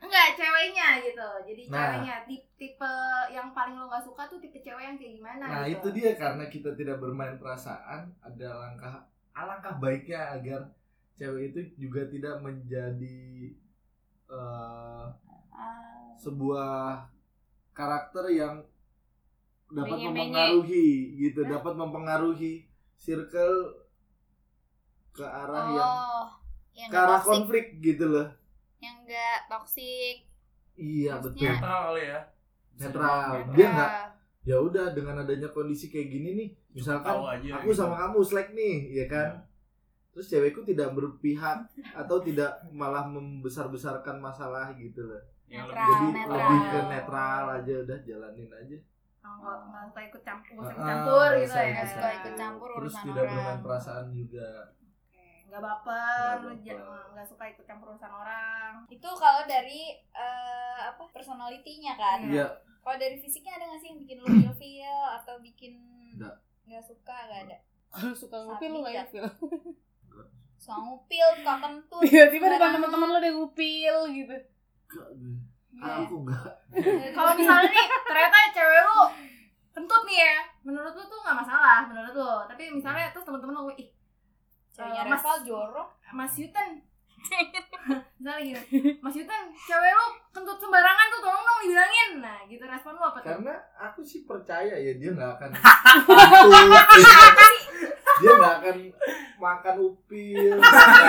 S7: Enggak, ceweknya gitu. Jadi
S1: Nah.
S7: ceweknya tipe, tipe yang paling lo nggak suka tuh tipe cewek yang kayak gimana?
S1: Nah itu
S7: gitu.
S1: dia karena kita tidak bermain perasaan ada langkah alangkah baiknya agar cewek itu juga tidak menjadi eh,
S3: Ah.
S1: sebuah karakter yang dapat
S2: Menye-menye.
S1: mempengaruhi gitu dapat mempengaruhi circle ke arah yang
S3: Oh,
S1: iya.
S3: yang
S1: ke
S3: gak
S1: arah
S3: toxic,
S1: konflik gitu loh
S3: yang gak toksik.
S1: iya
S3: Maksudnya-
S1: betul
S5: netral kali ya
S1: netral dia
S3: Ah,
S1: nggak ya udah dengan adanya kondisi kayak gini nih misalkan
S5: tahu aja
S1: kan aku sama kamu slack nih ya kan terus cewekku tidak berpihak atau tidak malah membesar-besarkan masalah gitu loh
S5: yang
S3: Netral,
S5: lebih
S1: jadi
S3: netral.
S1: lebih ke netral aja udah jalanin aja
S7: Oh, nggak nggak suka ikut campur,
S1: Ah,
S7: nggak suka ikut campur
S1: nggak
S7: gitu
S1: usah
S7: ya.
S3: Nggak suka ikut campur
S1: terus
S3: urusan
S1: tidak
S3: orang.
S1: bermain perasaan juga
S7: Nggak baper,
S1: Nggak
S7: nggak
S1: baper.
S7: nggak suka ikut campur urusan orang.
S3: Itu kalau dari eh, apa personalitinya kan.
S1: iya
S3: Kalau dari fisiknya ada nggak sih yang bikin lu ilfeel atau bikin
S1: Nggak.
S3: nggak suka nggak ada?
S2: Lu suka ngupil lu ya, gak ngupil?
S3: Suka ngupil, suka kentut.
S1: Iya.
S2: Tiba-tiba depan
S3: sembarangan.
S2: teman-teman lu udah ngupil gitu.
S1: enggak gue. aku enggak
S7: Kalau misalnya nih ternyata cewek lu kentut nih ya, menurut lu tuh nggak masalah, menurut lu. Tapi misalnya terus temen-temen lu, ih
S3: Ceweknya
S7: Eh, Mas-
S3: Rafael jorok.
S7: Mas Yutan Misalnya gini, Mas Yutan, cewek lu kentut sembarangan tuh tolong dong dibilangin Nah gitu respon lu apa tuh?
S1: karena aku sih percaya ya dia nggak akan dia nggak akan makan upil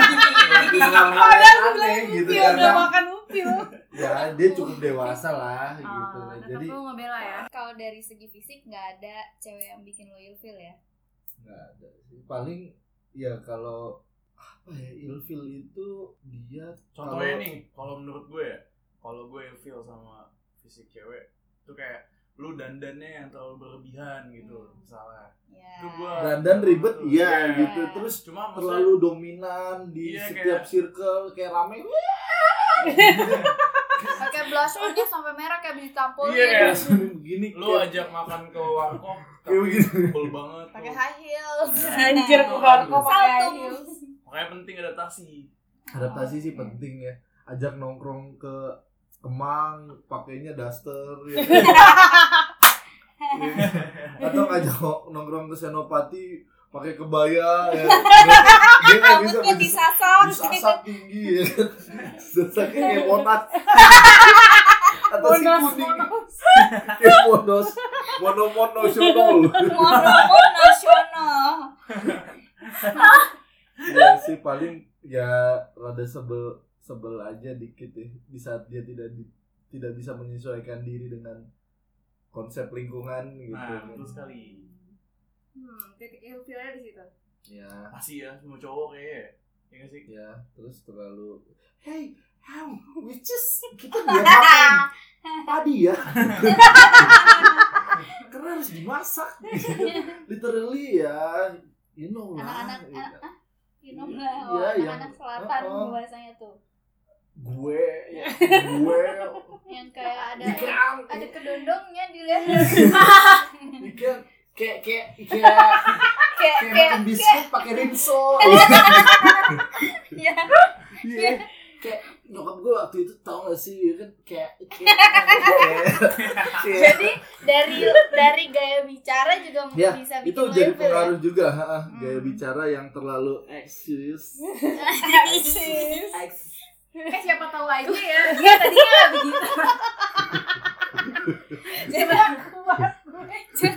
S1: ngelakuin hal-hal yang aneh gitu
S8: Iya
S1: karena
S8: nggak makan upil.
S1: ya dia cukup dewasa lah gitu
S7: Oh, tetap
S1: jadi
S7: lu ngebela ya
S3: Nah, Kalau dari segi fisik nggak ada cewek yang bikin lu ilfeel ya.
S1: nggak ada sih paling ya kalau apa ya ilfil itu dia
S5: contohnya
S1: kalau-
S5: nih kalau menurut gue ya kalau gue feel sama fisik cewek itu kayak lu dandannya yang terlalu berlebihan gitu misalnya
S3: Ya.
S5: Itu gua-
S1: dandan ribet iya
S5: Iya.
S1: gitu terus
S5: cuma maksudnya-
S1: terlalu dominan di
S5: Iya,
S1: setiap
S5: kayak-
S1: circle kayak rame
S3: Pakai blush onnya sampai merah kayak beli tampolin.
S5: Iya, kayak-
S1: begini
S5: lu
S1: kayak-
S5: ajak makan ke warkop
S1: kayak
S5: tapi
S1: begini
S5: pebel banget
S3: Pakai
S5: tuh. Nah, kan.
S3: high heels.
S5: Iya.
S8: Anjir bukan kok pakai
S3: Salto.
S8: heels.
S5: makanya penting adaptasi
S1: adaptasi sih penting ya ajak nongkrong ke Kemang pakainya daster ya. kan?
S5: Nah,
S1: atau ngajak nongkrong ke senopati pakai kebaya ya. dia gitu, nggak bisa bisa
S8: Rambutnya disasar
S3: gitu.
S1: disasar tinggi ya kan sasaknya kayak monas atau si
S8: Monas,
S1: kuning kayak monos mono monosional
S3: Oh,
S8: Ngomong nasional
S1: ya sih paling ya rada sebel sebel aja dikit ya di saat dia tidak di- tidak bisa menyesuaikan diri dengan konsep lingkungan gitu
S5: Nah,
S1: kan.
S5: betul sekali.
S7: Hmm, titik ilfilnya di situ.
S1: ya
S5: Masih ya, semua cowok kayaknya. Ya nggak sih?
S1: ya terus terlalu hey how which is kita biar makan padi ya karena harus dimasak literally ya you know lah ya.
S3: Anak-anak, ah, You know lah,
S1: Iya,
S3: wah,
S1: yang-
S3: anak-anak selatan
S1: Uh-uh.
S3: bahasanya tuh.
S1: gue ya, gue
S3: Yang kayak ada
S1: ikan
S3: ada kedondongnya dilihat.
S1: ikan kayak kayak kayak
S3: kayak
S1: kayak
S3: kayak Iya.
S1: makan biskuit pakai rinso
S3: ya.
S1: Iya. Kayak nyokap gue waktu itu tau gak sih ya kan kayak kayak kayak-
S3: Jadi dari dari gaya bicara juga
S1: Ya,
S3: bisa bikin
S1: itu jadi
S3: ilfil ya.
S1: pengaruh juga ha, ha, gaya
S3: Hmm.
S1: bicara yang terlalu eksis
S3: Iya
S7: Eh siapa tahu aja ya.
S8: Iya tadinya nggak begitu Jadi keluar gue.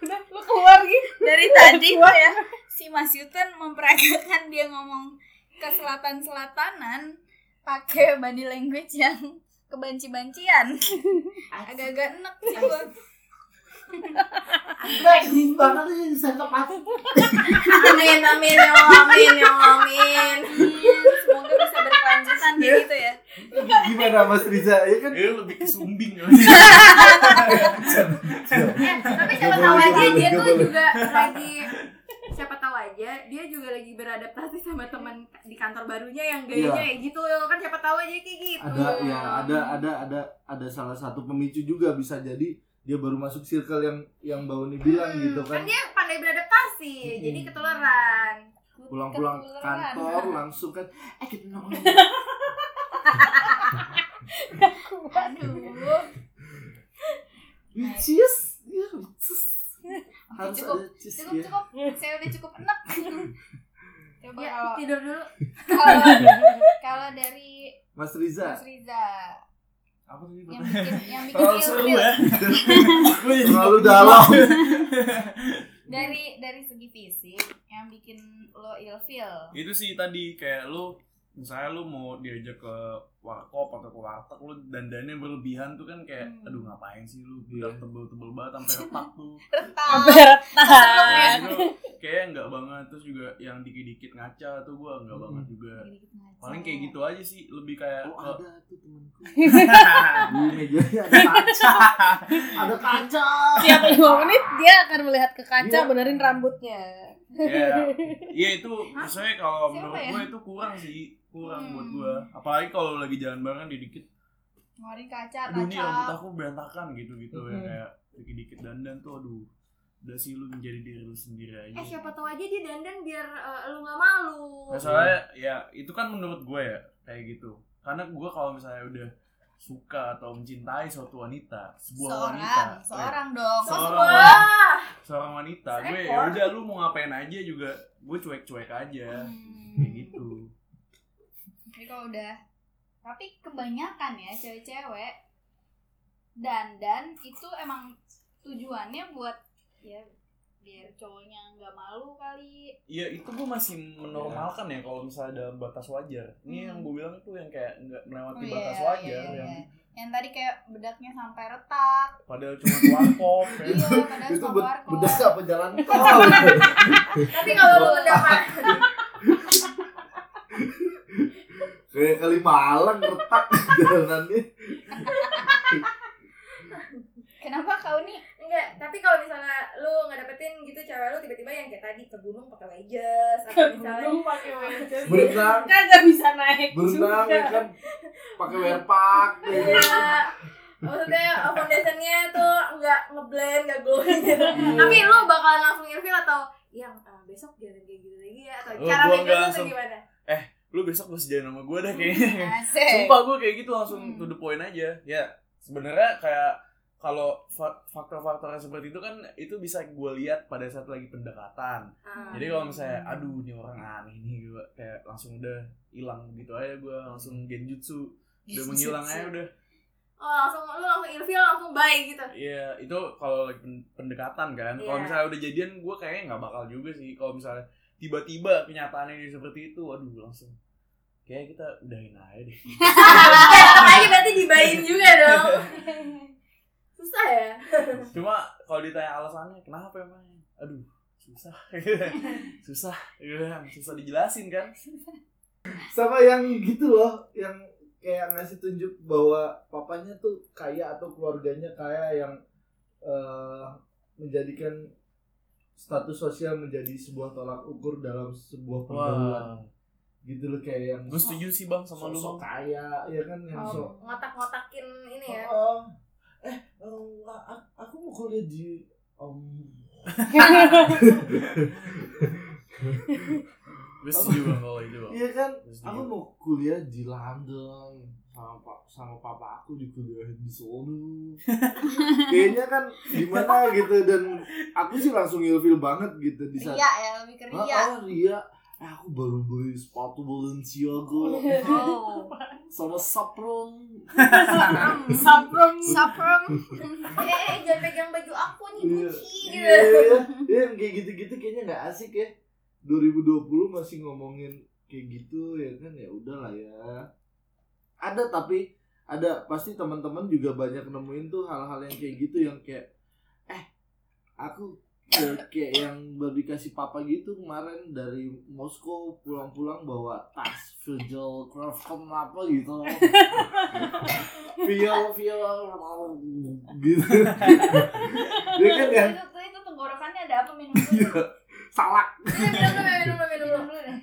S8: Udah lu keluar gitu
S3: dari tadi tuh ya si Mas Yuten memperagakan dia ngomong ke selatan selatanan pakai body language yang kebanci-bancian agak-agak enak sih gua
S6: Bagus banget ini sendok mati.
S7: Amin amin ya Allah, amin ya Allah, amin.
S3: Amin. semoga bisa berkelanjutan kayak gitu ya
S1: gimana Mas Riza ya kan
S5: Eh, lebih ke sumbing ya.
S7: Eh, tapi siapa
S1: Gak
S7: tahu
S1: boleh,
S7: aja
S1: gak
S7: dia
S1: boleh,
S7: tuh
S1: gak
S7: juga lagi siapa tahu aja dia juga lagi beradaptasi sama teman di kantor barunya yang gayanya
S1: Iya.
S7: kayak gitu kan siapa tahu aja kayak gitu.
S1: ada
S3: Iya.
S1: ya ada ada ada ada salah satu pemicu juga bisa jadi dia baru masuk circle yang yang Bauni bilang
S7: Hmm,
S1: gitu kan Hmm.
S7: dia pandai beradaptasi,
S1: Mm-mm.
S7: jadi ketularan.
S1: pulang-pulang
S3: Ketularan.
S1: kantor langsung kan eh kita nongkrong
S3: aduh
S1: cheese ya cheese harus
S3: cukup.
S1: ada cheese
S3: cukup
S1: ya
S3: cukup saya udah cukup enak coba
S7: Ya,
S3: kalau
S7: tidur dulu.
S3: kalau kalau dari
S1: Mas Riza
S3: Mas Riza
S5: Apa sih
S3: yang bikin yang
S5: pertanyaan?
S8: Iya,
S3: bikin
S4: Terlalu seru
S3: ilfil.
S4: ya. Gua jadi-
S1: terlalu dalam
S3: dari dari segi fisik yang bikin lo ilfil
S5: Itu sih tadi kayak lu misalnya lu mau diajak ke warkop atau ke warteg lu dandannya berlebihan tuh kan kayak
S3: Hmm.
S5: aduh ngapain sih lu bilang
S1: Iya.
S5: tebel-tebel banget sampai retak tuh
S3: Iya. tetap
S5: Nah,
S8: Beretan
S5: itu kayak nggak banget terus juga yang dikit-dikit ngaca tuh gua nggak
S1: Hmm.
S5: banget juga paling kayak gitu aja sih lebih kayak
S1: oh
S5: ke-
S1: ada tuh temanku di mejanya ada kaca ada kaca
S8: Tiap 5 menit dia akan melihat ke kaca
S1: Iya.
S8: benerin rambutnya
S5: ya ya itu maksudnya kalau
S3: Siapa
S5: menurut
S3: ya?
S5: gue itu kurang sih kurang
S3: Hmm.
S5: buat gue apalagi kalau lagi jalan bareng dia dikit
S3: ngeluarin kaca
S5: aduh ini rambut
S3: kaca
S5: aku berantakan gitu gitu ya
S1: Mhm.
S5: kayak dikit dikit dandan tuh aduh udah sih lu menjadi diri lu sendiri aja
S7: Eh siapa tahu aja dia dandan biar eh, lu nggak malu.
S5: Nah, soalnya ya itu kan menurut gue ya kayak gitu karena gue kalau misalnya udah suka atau mencintai suatu wanita sebuah wanita
S3: seorang
S5: eh,
S3: seorang dong
S5: Seorang.
S3: seorang
S5: seorang wanita gue ya
S8: Seekor.
S5: udah lu mau ngapain aja juga gue cuek cuek aja kayak
S3: Hmm.
S5: gitu
S3: Tapi kalau udah tapi kebanyakan ya cewek-cewek dandan itu emang tujuannya buat ya biar cowoknya nggak malu kali
S5: Iya itu gue masih menormalkan ya kalau misalnya dalam batas wajar.
S3: Hmm.
S5: Ini yang gue bilang tuh yang kayak nggak
S3: Oh,
S5: melewati
S3: iya,
S5: batas
S3: iya,
S5: wajar
S3: iya,
S5: yang
S3: iya. yang tadi kayak bedaknya sampai retak
S5: padahal cuma warkop ya.
S3: iya
S7: Kan
S3: padahal
S1: itu
S3: suka
S1: bed-
S3: warkop.
S1: bedak apa jalan tol
S7: Tapi kalau lu mendapat
S1: kayak kali malang retak jalanannya
S3: kenapa kau nih
S7: enggak, tapi kalau misalnya lu nggak dapetin gitu cewek lu tiba-tiba yang kayak tadi ke gunung pakai wedges atau misalnya
S8: pakai wedges
S1: berenang
S8: Kan nggak bisa naik
S1: berenang ya
S8: juga
S1: kan pakai werpak ya kan?
S7: Iya. Maksudnya eh, foundationnya tuh nggak ngeblend, nggak glowing gitu.
S1: Iya.
S7: Tapi lu bakalan langsung ilfil atau yang eh, besok jangan kayak gitu lagi ya atau
S5: Oh,
S7: cara
S5: gua nggak
S7: make up tuh
S5: langsung.
S7: gimana?
S5: Lu besok harus jalan sama gue deh kayaknya.
S3: asik
S5: Sumpah gue kayak gitu langsung
S3: Eh. Hmm.
S5: to the point aja. Ya sebenarnya kayak kalau fa- faktor-faktor yang seperti itu kan itu bisa gue lihat pada saat lagi pendekatan.
S7: Ah.
S5: Jadi kalau misalnya
S3: Hmm.
S5: aduh ini orang aneh nih gue kayak langsung udah hilang gitu aja gue
S3: Hmm.
S5: langsung genjutsu udah menghilang aja udah.
S7: oh langsung lu langsung ilfil langsung bye gitu
S5: Iya, itu kalau lagi pen- pendekatan kan. Kalau
S7: Iya.
S5: misalnya udah jadian gue kayaknya nggak bakal juga sih kalau misalnya tiba-tiba kenyataannya ini seperti itu, aduh langsung kayak kita udahin aja deh.
S7: Eh, tetap aja berarti dibayin juga dong susah ya
S5: Cuma kalau ditanya alasannya kenapa emang? Aduh, susah. susah. Iya, susah dijelasin kan.
S1: sama yang gitu loh yang kayak ngasih tunjuk bahwa papanya tuh kaya atau keluarganya kaya yang eh, menjadikan status sosial menjadi sebuah tolak ukur dalam sebuah pergaulan
S5: Wah,
S1: gitu loh kayak yang
S5: gue setuju sih Bang sama lu,
S1: sok
S5: Bang.
S1: kaya ya kan yang
S7: Oh,
S1: sok
S7: ngotak-ngotakin ini ya
S1: Oh, oh. eh oh, a- a- aku mau kuliah di om
S5: Gue setuju Bang kalau itu, Bang.
S1: iya kan
S5: Gua setuju.
S1: aku mau kuliah di London sama pa- sama papa aku di kuliah di sono kayaknya kan gimana gitu dan aku sih langsung ilfil banget gitu di saat
S3: Ria ya, lebih ke
S1: Ah,
S3: Ria.
S1: ah, Ria Eh, aku baru beli sepatu Balenciaga
S3: Oh.
S1: sama Sapron
S8: Saprom.
S3: Saprom.
S7: eh, eh jangan pegang baju aku nih
S1: Iya.
S7: Gucci gitu
S1: Iya, iya. Iya, yang kayak gitu-gitu kayaknya nggak asik ya 2020 masih ngomongin kayak gitu ya kan ya udahlah ya ada tapi ada pasti teman-teman juga banyak nemuin tuh hal-hal yang kayak gitu yang kayak eh aku kayak, kayak yang baru dikasih papa gitu kemarin dari Moskow pulang-pulang bawa tas Virgil Crofton apa gitu Viel Viel gitu dia kan yang
S3: Itu itu tenggorokannya ada apa minum dulu.
S1: Iya. Salak.
S7: minum dulu minum dulu
S3: Minum
S7: minum dulu
S3: dulu deh.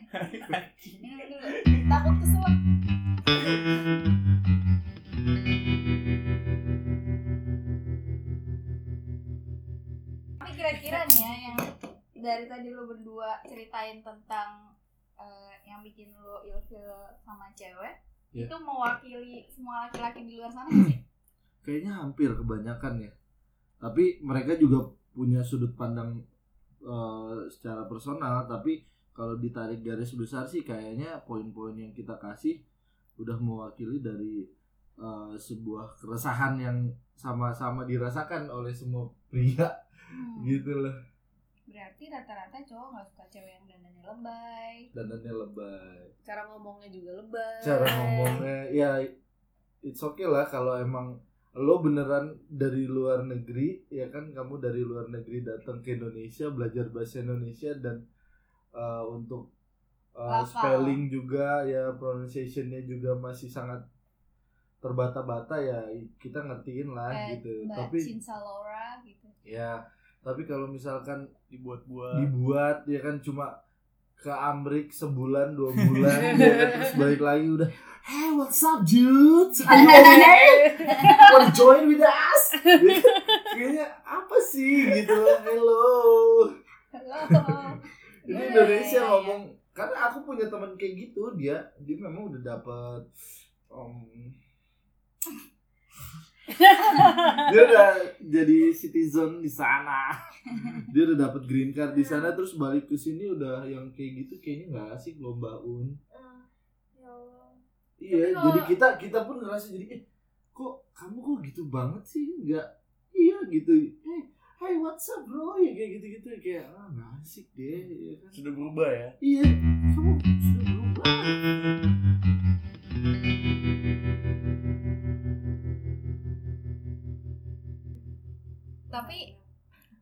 S3: Minum dulu. Takut keselak. Tapi kira-kira nih ya yang dari tadi lu berdua ceritain tentang eh, yang bikin lu ilfil sama cewek
S1: Iya.
S3: itu mewakili semua laki-laki di luar sana nggak sih?
S1: kayaknya hampir kebanyakan ya tapi mereka juga punya sudut pandang eh, secara personal tapi kalau ditarik garis besar sih kayaknya poin-poin yang kita kasih udah mewakili dari eh, sebuah keresahan yang sama-sama dirasakan oleh semua pria
S3: Hmm.
S1: gitu loh
S3: Berarti rata-rata cowok nggak suka cewek yang dandannya lebay.
S1: dandannya lebay
S2: cara ngomongnya juga lebay
S1: cara ngomongnya ya it's okay lah kalau emang lo beneran dari luar negeri ya kan kamu dari luar negeri datang ke Indonesia belajar bahasa Indonesia dan eh, untuk eh,
S3: Lafal.
S1: spelling juga ya pronunciationnya juga masih sangat terbata-bata ya kita ngertiin lah
S3: Kayak
S1: gitu
S3: Mbak
S1: tapi
S3: Cinta Laura gitu.
S1: ya tapi kalau misalkan
S5: Dibuat-buat.
S1: dibuat ya kan cuma ke Amrik sebulan dua bulan ya kan terus balik lagi udah hey what's up dude are you okay wanna join with us Gitu. kayaknya apa sih gitu loh hello
S3: Halo.
S1: ini
S3: Iya,
S1: Indonesia
S3: iya, iya.
S1: ngomong karena aku punya teman kayak gitu dia dia memang udah dapet um, dia udah jadi citizen di sana dia udah dapet green card di sana terus balik ke sini udah yang kayak gitu kayaknya nggak asik loh mbak Un
S7: Ya Allah.
S1: iya
S7: Tapi kalau-
S1: jadi kita kita pun ngerasa jadi eh kok kamu kok gitu banget sih nggak iya gitu eh hey what's up bro ya kayak gitu gitu kayak ah nggak asik deh ya kan
S5: Sudah berubah ya.
S1: Iya, kamu sudah berubah.
S3: Tapi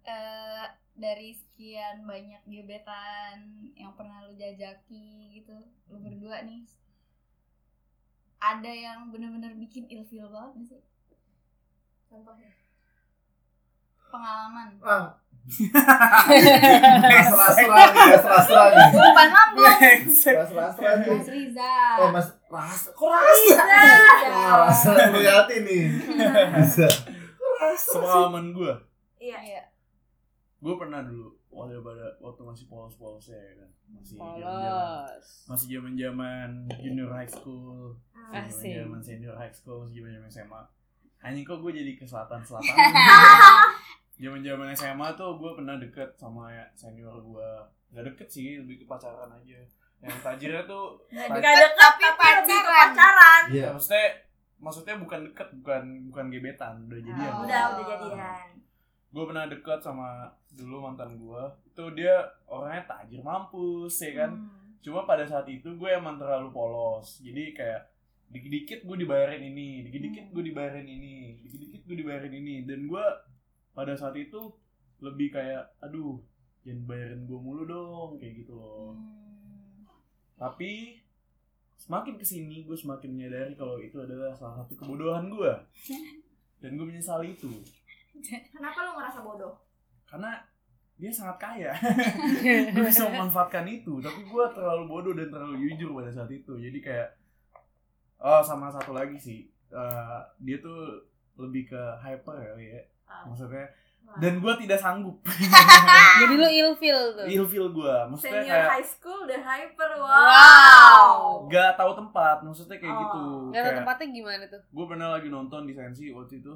S3: eh, dari sekian banyak gebetan yang pernah lu jajaki gitu, lu berdua nih ada yang bener-bener bikin ilfil banget nggak sih? Contohnya pengalaman
S1: Ah. Ras-ras-ras, ras-ras-ras.
S3: bukan lambung
S1: Ras-ras-ras.
S3: Mas
S1: Eh,
S3: Riza
S1: Mas, ras, kok rasa? Wah, rasa royalti nih. Bisa.
S5: Pengalaman gue.
S7: iya
S3: Iya.
S5: Gue pernah dulu waktu pada waktu masih polos-polosnya ya kan. Masih
S1: Iya,
S5: jalan-jalan.
S2: polos
S5: masih zaman zaman junior high school
S2: Ah, Asik.
S5: zaman zaman senior high school masih zaman zaman SMA anjing kok gue jadi ke selatan selatan zaman zaman SMA tuh gue pernah deket sama ya senior gue nggak deket sih lebih ke pacaran aja yang tajirnya tuh
S3: Nggak deket.
S5: taj-
S8: Gak dekat
S3: Tapi
S8: tapi lebih ke
S3: pacaran.
S8: pacaran.
S5: ya,
S1: Iya.
S5: maksudnya maksudnya bukan deket bukan bukan gebetan udah
S2: Ah.
S5: jadian
S3: Oh.
S7: udah udah jadian
S5: gue pernah deket sama dulu mantan gue itu dia orangnya tajir mampus ya kan
S7: Hmm.
S5: cuma pada saat itu gue emang terlalu polos jadi kayak dikit-dikit gue dibayarin ini dikit-dikit gue dibayarin ini dikit-dikit gue dibayarin ini dan gue pada saat itu lebih kayak aduh jangan bayarin gue mulu dong kayak gitu loh tapi semakin kesini gue semakin menyadari kalau itu adalah salah satu kebodohan gue dan gue menyesali itu
S7: kenapa lu ngerasa bodoh
S5: karena dia sangat kaya gue bisa memanfaatkan itu tapi gue terlalu bodoh dan terlalu jujur pada saat itu jadi kayak oh sama satu lagi sih eh, dia tuh lebih ke hyper kali ya maksudnya dan gue tidak sanggup
S2: Jadi lu ilfil tuh.
S5: ilfil gue maksudnya
S7: senior
S5: kayak
S7: high school udah hyper wow,
S5: gak tahu tempat maksudnya kayak
S7: Oh.
S5: gitu
S2: Gak tau
S5: Kayak-
S2: tempatnya gimana tuh.
S5: gue pernah lagi nonton di sensi waktu itu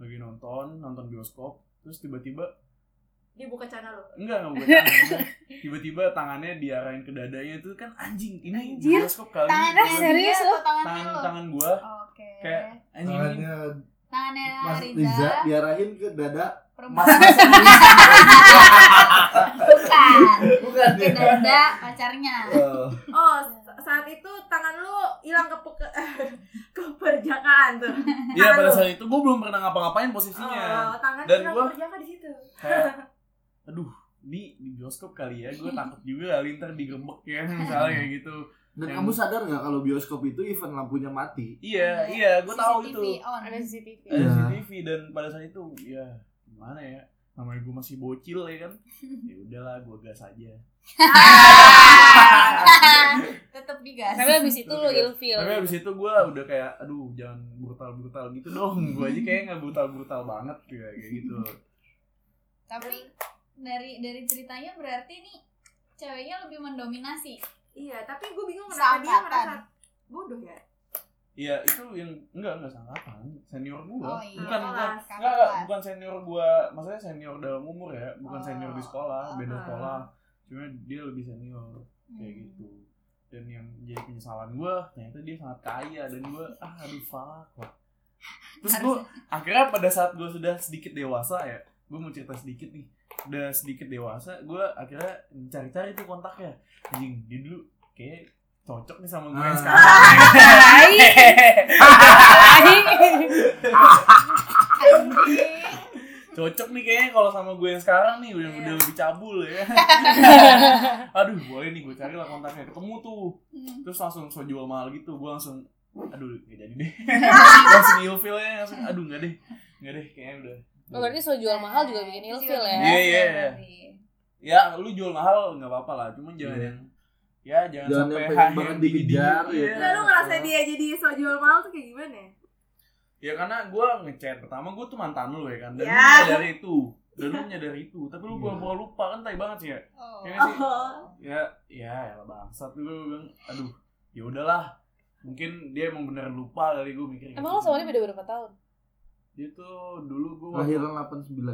S5: lagi nonton nonton bioskop terus tiba-tiba
S7: dia buka channel lu
S5: enggak enggak bukan tangannya tiba-tiba tangannya diarahin ke dadanya itu kan anjing ini
S2: Anjir,
S5: bioskop kali
S3: Tangannya
S5: Gua-
S2: serius
S3: dia
S2: lu?
S3: atau tangannya
S5: tangan
S3: lu?
S5: tangan gua
S3: Oke.
S5: kayak anjing ini
S1: Tangannya
S3: Tangannya
S1: Mas
S3: Ya, Riza.
S1: Riza diarahin ke dada
S3: Perempuan.
S1: Mas Mas
S3: Bukan.
S1: bukan
S3: Ke dada pacarnya.
S1: Eh,
S7: oh sa- saat itu tangan lu hilang ke peke- keperjakaan tuh
S5: iya pada saat itu gua belum pernah ngapa-ngapain posisinya
S7: oh, tangan
S5: Dan
S7: hilang
S5: gua-
S7: keperjakaan di situ
S5: kayak aduh ini di bioskop kali ya gua takut juga kali ntar digembek ya misalnya kayak gitu
S1: dan
S5: Yang-
S1: kamu sadar nggak kalau bioskop itu event lampunya mati
S5: iya iya gua tahu
S3: CCTV
S5: itu
S3: on.
S2: Ada CCTV.
S5: ada
S1: Iya.
S5: CCTV dan pada saat itu ya gimana ya namanya gue masih bocil ya kan ya udahlah gue gas aja
S3: Tetep digas.
S2: Tapi abis itu lu ilfil.
S5: tapi abis itu gue udah kayak aduh jangan brutal brutal gitu dong gue aja kayak nggak brutal brutal banget ya, kayak gitu
S3: Tapi dari dari ceritanya berarti nih ceweknya lebih mendominasi.
S7: iya tapi gue bingung kenapa dia
S3: Seangkatan.
S7: merasa bodoh ya
S5: ya itu yang enggak enggak sangkatan senior gue
S3: Oh iya.
S5: bukan
S3: kelas,
S5: bukan enggak, gitu.
S3: kakak
S5: enggak,
S3: kelas.
S5: bukan senior gue maksudnya senior dalam umur ya
S3: Oh.
S5: bukan
S3: uh-huh.
S5: senior di sekolah beda
S7: Ah.
S5: sekolah cuma dia lebih senior kayak
S3: Hmm.
S5: gitu dan yang jadi penyesalan gue ternyata dia sangat kaya dan gue ah aduh fuck lah terus gue akhirnya pada saat gue sudah sedikit dewasa ya gue mau cerita sedikit nih udah sedikit dewasa gue akhirnya mencari-cari tuh kontaknya anjing dia dulu kayak cocok nih sama gue yang
S1: Ah.
S5: sekarang
S3: Anjing.
S5: cocok nih kayaknya kalau sama gue yang sekarang nih
S2: Iya.
S5: udah udah lebih cabul ya aduh boleh nih gue cari lah kontaknya ketemu tuh
S3: Hmm.
S5: terus langsung so jual mahal gitu gue langsung aduh gak jadi deh langsung ilfil ya langsung aduh gak deh gak deh kayaknya udah
S2: Oh, berarti so jual mahal juga bikin
S3: Itu
S2: ilfil
S3: juga
S2: ya.
S3: bikin
S5: Iya,
S3: ilfil
S5: iya, iya.
S3: berarti.
S5: ya lu jual mahal nggak apa-apa lah cuman jangan
S1: Iya.
S5: yang ya jangan,
S1: Jangan
S5: sampai
S1: yang pengen
S5: high
S1: banget
S5: yang tinggi
S1: dikejar,
S5: dingin.
S1: ya.
S7: Enggak, lu ngerasa dia jadi so jual mahal tuh kayak gimana ya?
S5: ya karena gue ngechat pertama gue tuh mantan lu ya kan dan
S2: Iya.
S5: lu
S7: Ya.
S5: menyadari itu dan lu menyadari itu tapi lu
S1: Iya.
S5: pura-pura lupa kan tai banget sih ya
S3: Oh.
S5: Iya nggak sih?
S7: Oh,
S5: ya ya elah bangsat lu gue bilang aduh ya udahlah mungkin dia emang bener lupa kali gue mikir gitu.
S2: Emang lo sama dia beda berapa tahun?
S5: dia tuh dulu gue
S1: lahiran 89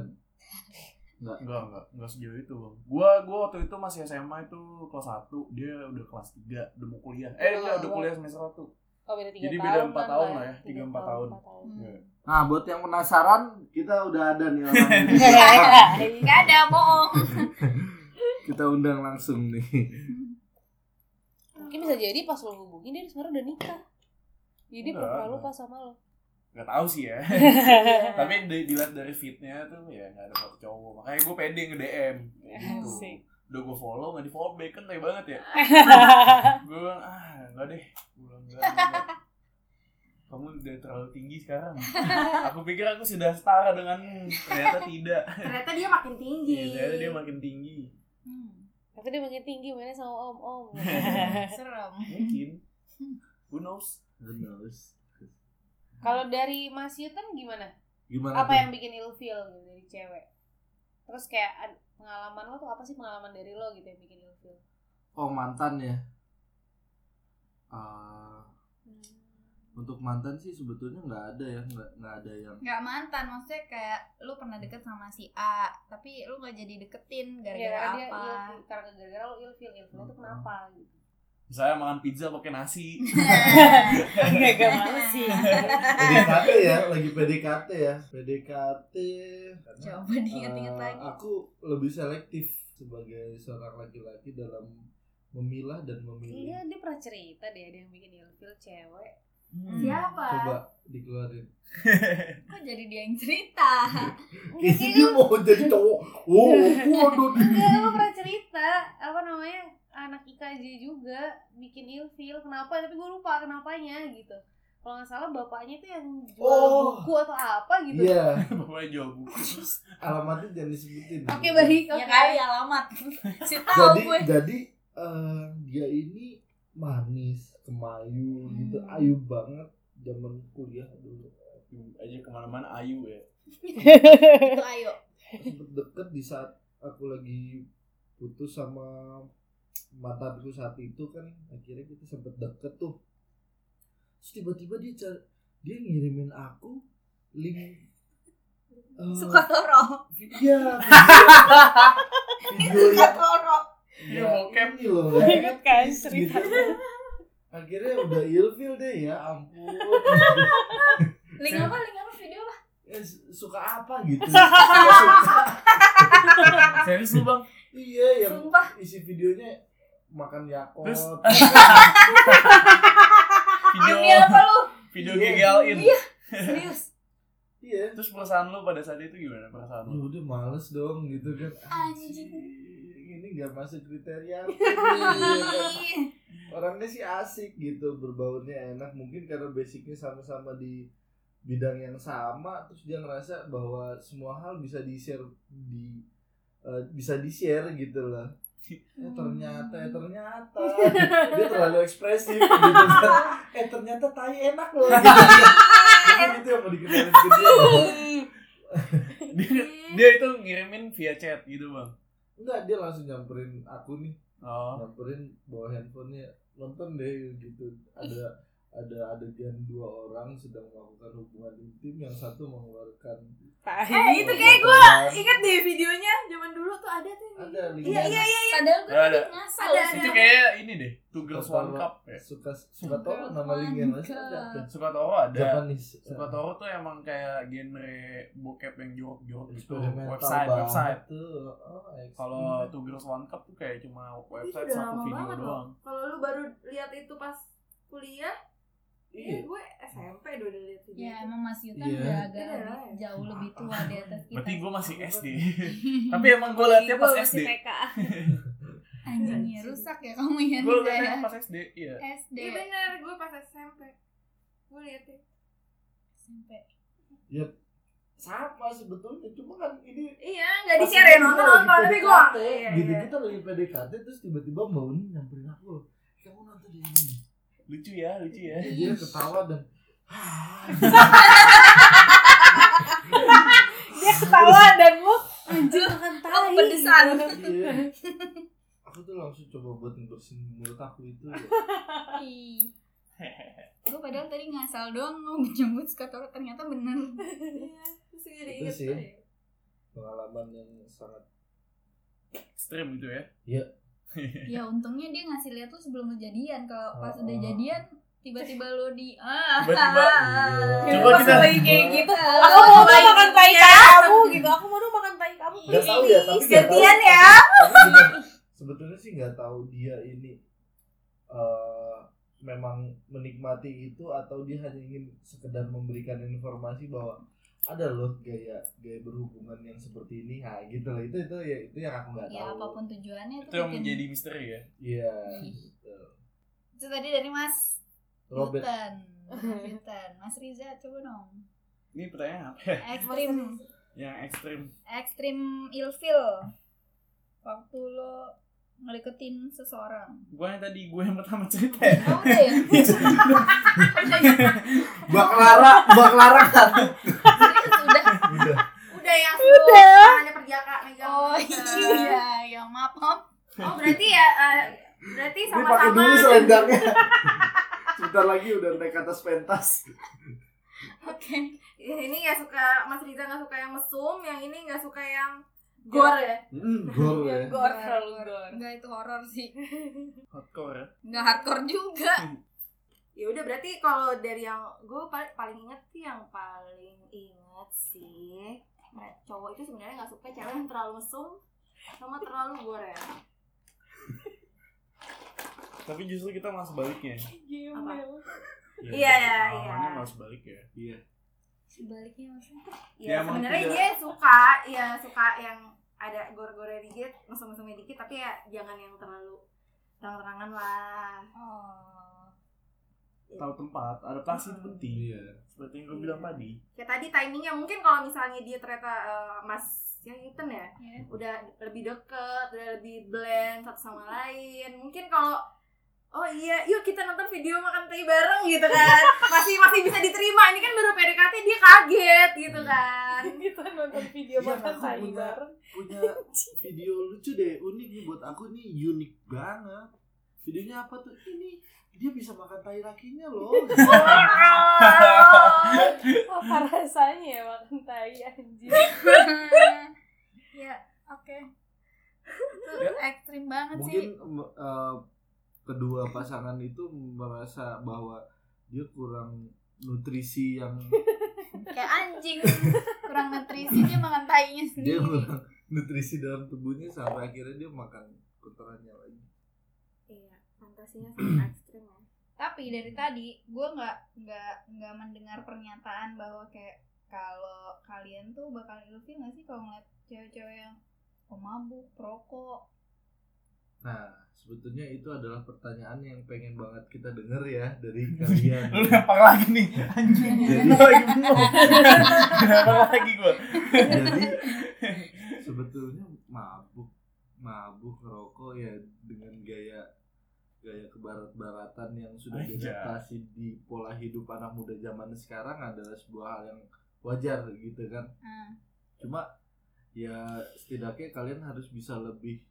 S5: Enggak, enggak, enggak sejauh itu bang Gua, gua waktu itu masih SMA itu kelas 1 Dia udah kelas 3, udah mau kuliah Eh,
S2: Oh,
S5: enggak, udah
S2: wow.
S5: kuliah semester 1
S2: Oh beda tiga
S5: Jadi
S2: tahun.
S5: beda empat tahun lah ya,
S2: Tiga
S5: tiga empat tahun.
S2: empat tahun.
S5: Iya.
S3: Hmm.
S1: nah buat yang penasaran kita udah ada nih orang kan.
S3: Gak ada bohong.
S1: kita undang langsung nih
S2: Mungkin bisa jadi pas lo hubungin dia sebenarnya udah nikah. Jadi
S5: Enggak,
S2: pura-pura
S5: enggak.
S2: lupa sama lo.
S5: Enggak tahu sih ya Tapi di- dilihat dari fitnya tuh ya enggak ada foto cowok Makanya gua pede nge-DM kayak gitu.
S2: Asik.
S5: Udah gua follow, enggak di follow back kan tai banget ya Gua bilang, ah enggak deh Gua bilang, enggak, enggak, enggak. Kamu udah terlalu tinggi sekarang Aku pikir aku sudah setara denganmu Ternyata tidak
S7: ternyata dia makin
S5: Iya,
S7: tinggi.
S5: Ternyata dia makin tinggi
S3: Hmm.
S2: Tapi dia makin tinggi mainnya sama om-om.
S3: Serem.
S5: Mungkin. Who knows?
S1: Who knows?
S2: Kalau dari Mas Yuten gimana?
S1: gimana
S2: Apa
S1: tuh?
S2: yang bikin ilfil gitu dari cewek? Terus kayak ad- pengalaman lo tuh apa sih pengalaman dari lo gitu yang bikin ilfil? Hmm.
S1: oh mantan ya Ah, Eh, untuk mantan sih sebetulnya nggak ada ya nggak nggak ada yang
S3: nggak mantan maksudnya kayak lu pernah deket sama si A tapi lu nggak jadi deketin
S2: Gara-gara
S8: Iya,
S3: gara-gara
S2: dia
S3: apa
S2: ilfil, karena gara-gara lo ilfil, ilfil
S1: Hmm.
S2: itu kenapa gitu.
S5: Saya makan pizza pakai nasi.
S8: Agak-agak males sih.
S1: PDKT ya lagi PDKT ya PDKT karena,
S3: coba diinget-inget
S1: eh,
S3: lagi
S1: aku lebih selektif sebagai seorang laki-laki dalam memilah dan
S2: Iya,
S1: memilih
S2: dia pernah cerita deh ada yang bikin ilfil cewek.
S5: Hmm,
S7: Siapa?
S1: coba dikeluarin
S3: kok jadi dia yang cerita
S2: Iya.
S1: ini mau jadi cowok oh waduh
S2: Enggak, lu pernah cerita apa namanya anak IKJ juga bikin ilfil kenapa tapi gue lupa kenapanya gitu kalau nggak salah bapaknya itu yang jual
S1: Oh.
S2: buku atau apa gitu
S1: iya
S5: Pokoknya jual buku.
S1: alamatnya jangan disebutin
S2: oke baik
S8: Iya
S2: oke
S3: ya
S8: kan?
S3: kali alamat si tahu
S1: jadi
S3: gue
S1: jadi eh, dia ini manis kemayu
S3: Hmm.
S1: gitu ayu banget zaman kuliah dulu
S5: aja kemana-mana ayu ya
S3: itu ayo
S1: sempet deket di saat aku lagi putus sama mantanku saat itu kan akhirnya kita sempet deket tuh terus tiba-tiba dia car- dia ngirimin aku link eh,
S3: suka toro
S1: vi- iya, video, video
S3: suka
S1: yang
S3: toro
S1: ya, ini loh
S8: Ingat kan cerita.
S1: gitu. akhirnya udah ilfil deh ya ampun
S3: link
S1: Iya.
S3: apa link apa video apa
S1: Ya, su- suka apa gitu Suka-
S5: serius lu bang
S1: iya yang
S3: sumpah
S1: isi videonya makan yakult
S5: Terus-
S3: ambil apa lu
S5: video
S1: Iya.
S5: GGLin
S3: serius
S1: iya
S5: terus perasaan lu pada saat itu gimana perasaan lu
S1: Aduh, udah males dong gitu kan
S3: Anjing.
S1: ini nggak masuk kriteria aku nih.
S3: Ih.
S1: orangnya sih asik gitu berbaurnya enak mungkin karena basicnya sama-sama di bidang yang sama terus dia ngerasa bahwa semua hal bisa di share di eh, bisa di share gitu loh eh ternyata eh ternyata dia terlalu ekspresif gitu eh ternyata tai enak loh gitu. Mungkin itu yang mau diketahui ke dia
S5: dia, dia itu ngirimin via chat gitu bang
S1: enggak dia langsung nyamperin aku nih
S5: oh
S1: nyamperin bawa handphonenya nonton deh gitu ada ada adegan dua orang sedang melakukan hubungan intim yang satu mengeluarkan
S7: Eh,
S8: Tai.
S1: itu kayak gue
S7: Ingat deh videonya zaman dulu tuh ada tuh.
S1: ada
S7: Iya iya iya.
S3: padahal gue
S5: Ada,
S3: tadi
S5: ada.
S3: ngasal
S7: Ada,
S5: itu kayak ini deh two girls one cup ya
S1: suka suka tau nama linknya masih ada tuh.
S5: suka tau ada
S1: Japanese
S5: suka tau tuh emang kayak genre bokep yang jorok-jorok gitu
S1: Eksperimental
S5: website
S1: banget
S5: website
S1: tuh. Oh, eksperimen.
S5: kalau two girls one cup tuh kayak cuma website
S7: udah
S5: satu
S7: lama
S5: video
S7: banget
S5: doang
S7: Kalau lu baru lihat itu pas kuliah,
S1: iya
S7: iya gue SMP udah udah lihat video.
S3: ya
S7: itu.
S3: emang Mas Yuta
S1: Iya.
S3: udah agak
S7: Iya.
S3: lebih- jauh lebih tua di atas kita
S5: berarti gue masih SD tapi emang gue liatnya pas
S2: Gua
S5: SD
S2: masih TK
S3: anjing ya rusak ya kamu ya Nisa
S5: gue
S3: ya.
S5: liatnya pas SD iya
S3: SD
S7: Iya bener, gue pas SMP. Gue lihat deh.
S3: SMP
S1: sama sebetulnya cuma kan ini
S7: Iya, nggak di
S1: Pas
S7: share ya
S1: itu
S7: nonton
S1: lagi
S7: nonton tapi gue.
S1: PDKT,
S7: Iya,
S1: gitu
S7: iya.
S1: kita lagi PDKT terus tiba-tiba mbak Uni nyamperin aku "Eh, kamu nonton ini
S5: lucu ya lucu ya
S1: Terus
S7: Iya.
S1: dia ketawa dan
S8: Dia ketawa dan lu
S7: Oh,
S3: anjir kan tahu
S8: pedesan.
S1: Iya. aku tuh langsung coba buat ngebersihin mulut aku itu ya.
S3: gue padahal tadi ngasal doang lu nyebut skator ternyata bener
S7: Iya, terus gue jadi
S1: Itu
S7: inget
S1: sih.
S7: tuh ya.
S1: pengalaman yang sangat
S5: ekstrim gitu ya
S3: ya untungnya dia ngasih lihat tuh sebelum lu jadian kalau pas
S1: Oh.
S3: udah jadian tiba-tiba lu di ah
S5: Tiba-tiba.
S1: Iya.
S5: Coba
S8: pas
S5: kita-
S8: lagi kayak gitu.
S3: Ah.
S8: Aku mau dong makan tai
S7: ya.
S8: kamu gitu. Aku mau dong makan tai kamu.
S1: nggak tahu ya tapi nggak tahu.
S8: Gantian ya.
S1: Tapi bener, sebetulnya sih nggak tahu dia ini eh, memang menikmati itu atau dia hanya ingin sekedar memberikan informasi bahwa ada loh gaya gaya berhubungan yang seperti ini nah gitu loh itu itu ya itu yang aku nggak
S3: ya
S1: tahu
S3: apapun tujuannya
S5: itu yang
S3: bikin-
S5: menjadi misteri ya
S1: iya
S3: Ih.
S1: gitu.
S3: itu tadi dari mas
S1: Robert
S3: Rutan. Mas Rutan. Mas Riza coba dong
S5: ini pertanyaan apa ya
S3: ekstrim
S5: yang ekstrim
S3: ekstrim ilfil waktu lo ngedeketin seseorang
S5: gue yang tadi gue yang pertama cerita ya
S3: oh udah ya
S1: Mbak Clara Mbak Clara satu
S3: sudah
S1: udah
S7: Udah ya, udah. Hanya perjaka megang.
S3: oh
S7: Eh,
S3: iya ya maaf maaf
S7: Oh berarti ya, eh, berarti
S1: Ini pakai
S7: sama-sama.
S1: dulu selendangnya. Bentar lagi udah naik ke atas pentas.
S3: Oke.
S7: ini nggak suka Mas Riza nggak suka yang mesum, yang ini nggak suka yang gore ya.
S1: Mm, gor ya.
S8: Gor, terlalu gor.
S3: Enggak Iya, itu horor sih.
S5: hardcore ya
S3: Enggak hardcore juga.
S7: Ya udah berarti kalau dari yang gue paling paling inget sih yang paling inget sih nah, cowok itu sebenarnya nggak suka cewek yang terlalu mesum sama terlalu gore.
S5: tapi justru kita malah sebaliknya
S7: Apa?
S5: Ya,
S7: Iya, iya, iya.
S5: awalnya malah sebalik ya
S1: Iya.
S3: Sebaliknya maksudnya.
S5: Ya,
S7: Ya,
S5: emang
S7: sebenarnya
S5: tidak-
S7: dia suka, ya suka yang ada gore-gore dikit, mesum-mesumnya dikit, tapi ya jangan yang terlalu terang-terangan lah.
S3: Oh.
S5: tahu tempat adaptasi itu penting
S1: Iya.
S5: seperti yang gue bilang tadi
S7: Ya tadi timingnya mungkin kalau misalnya dia ternyata eh, Mas yang Hilton ya,
S3: Iya.
S7: udah lebih deket, udah lebih blend satu sama lain. Mungkin kalau oh iya, yuk kita nonton video makan teh bareng gitu kan. masih masih bisa diterima. Ini kan baru PDKT dia kaget
S1: Hmm.
S7: gitu kan.
S8: Kita nonton video
S1: Iya,
S8: makan
S1: aku
S8: tai
S1: punya-
S8: bareng.
S1: Punya video lucu deh, unik nih buat aku nih unik banget. Videonya apa tuh? Ini dia bisa makan tai lakinya loh.
S8: Apa rasanya ya makan tai anjir?
S3: ya, oke. Itu ekstrim banget sih.
S1: Mungkin em, eh, kedua pasangan itu merasa bahwa dia kurang nutrisi yang
S3: Kayak anjing. Kurang nutrisi dia makan tainya
S1: dia
S3: sendiri.
S1: kurang nutrisi dalam tubuhnya sampai akhirnya dia makan kotorannya lagi.
S7: Iya, fantasinya sangat ekstrim ya.
S3: tapi dari tadi gue nggak nggak nggak mendengar pernyataan bahwa kayak kalau kalian tuh bakal ilfil nggak sih kalau ngeliat cewek-cewek yang pemabuk, perokok
S1: Nah, sebetulnya itu adalah pertanyaan yang pengen banget kita denger ya dari kalian.
S5: lu apa lagi nih anjing lu lagi bingung apa lagi gue
S1: Jadi sebetulnya mabuk, mabuk ngerokok ya dengan gaya gaya kebarat-baratan yang sudah
S5: Anjay.
S1: diadaptasi di pola hidup anak muda zaman sekarang adalah sebuah hal yang wajar gitu kan.
S3: Hmm.
S1: Cuma ya setidaknya kalian harus bisa lebih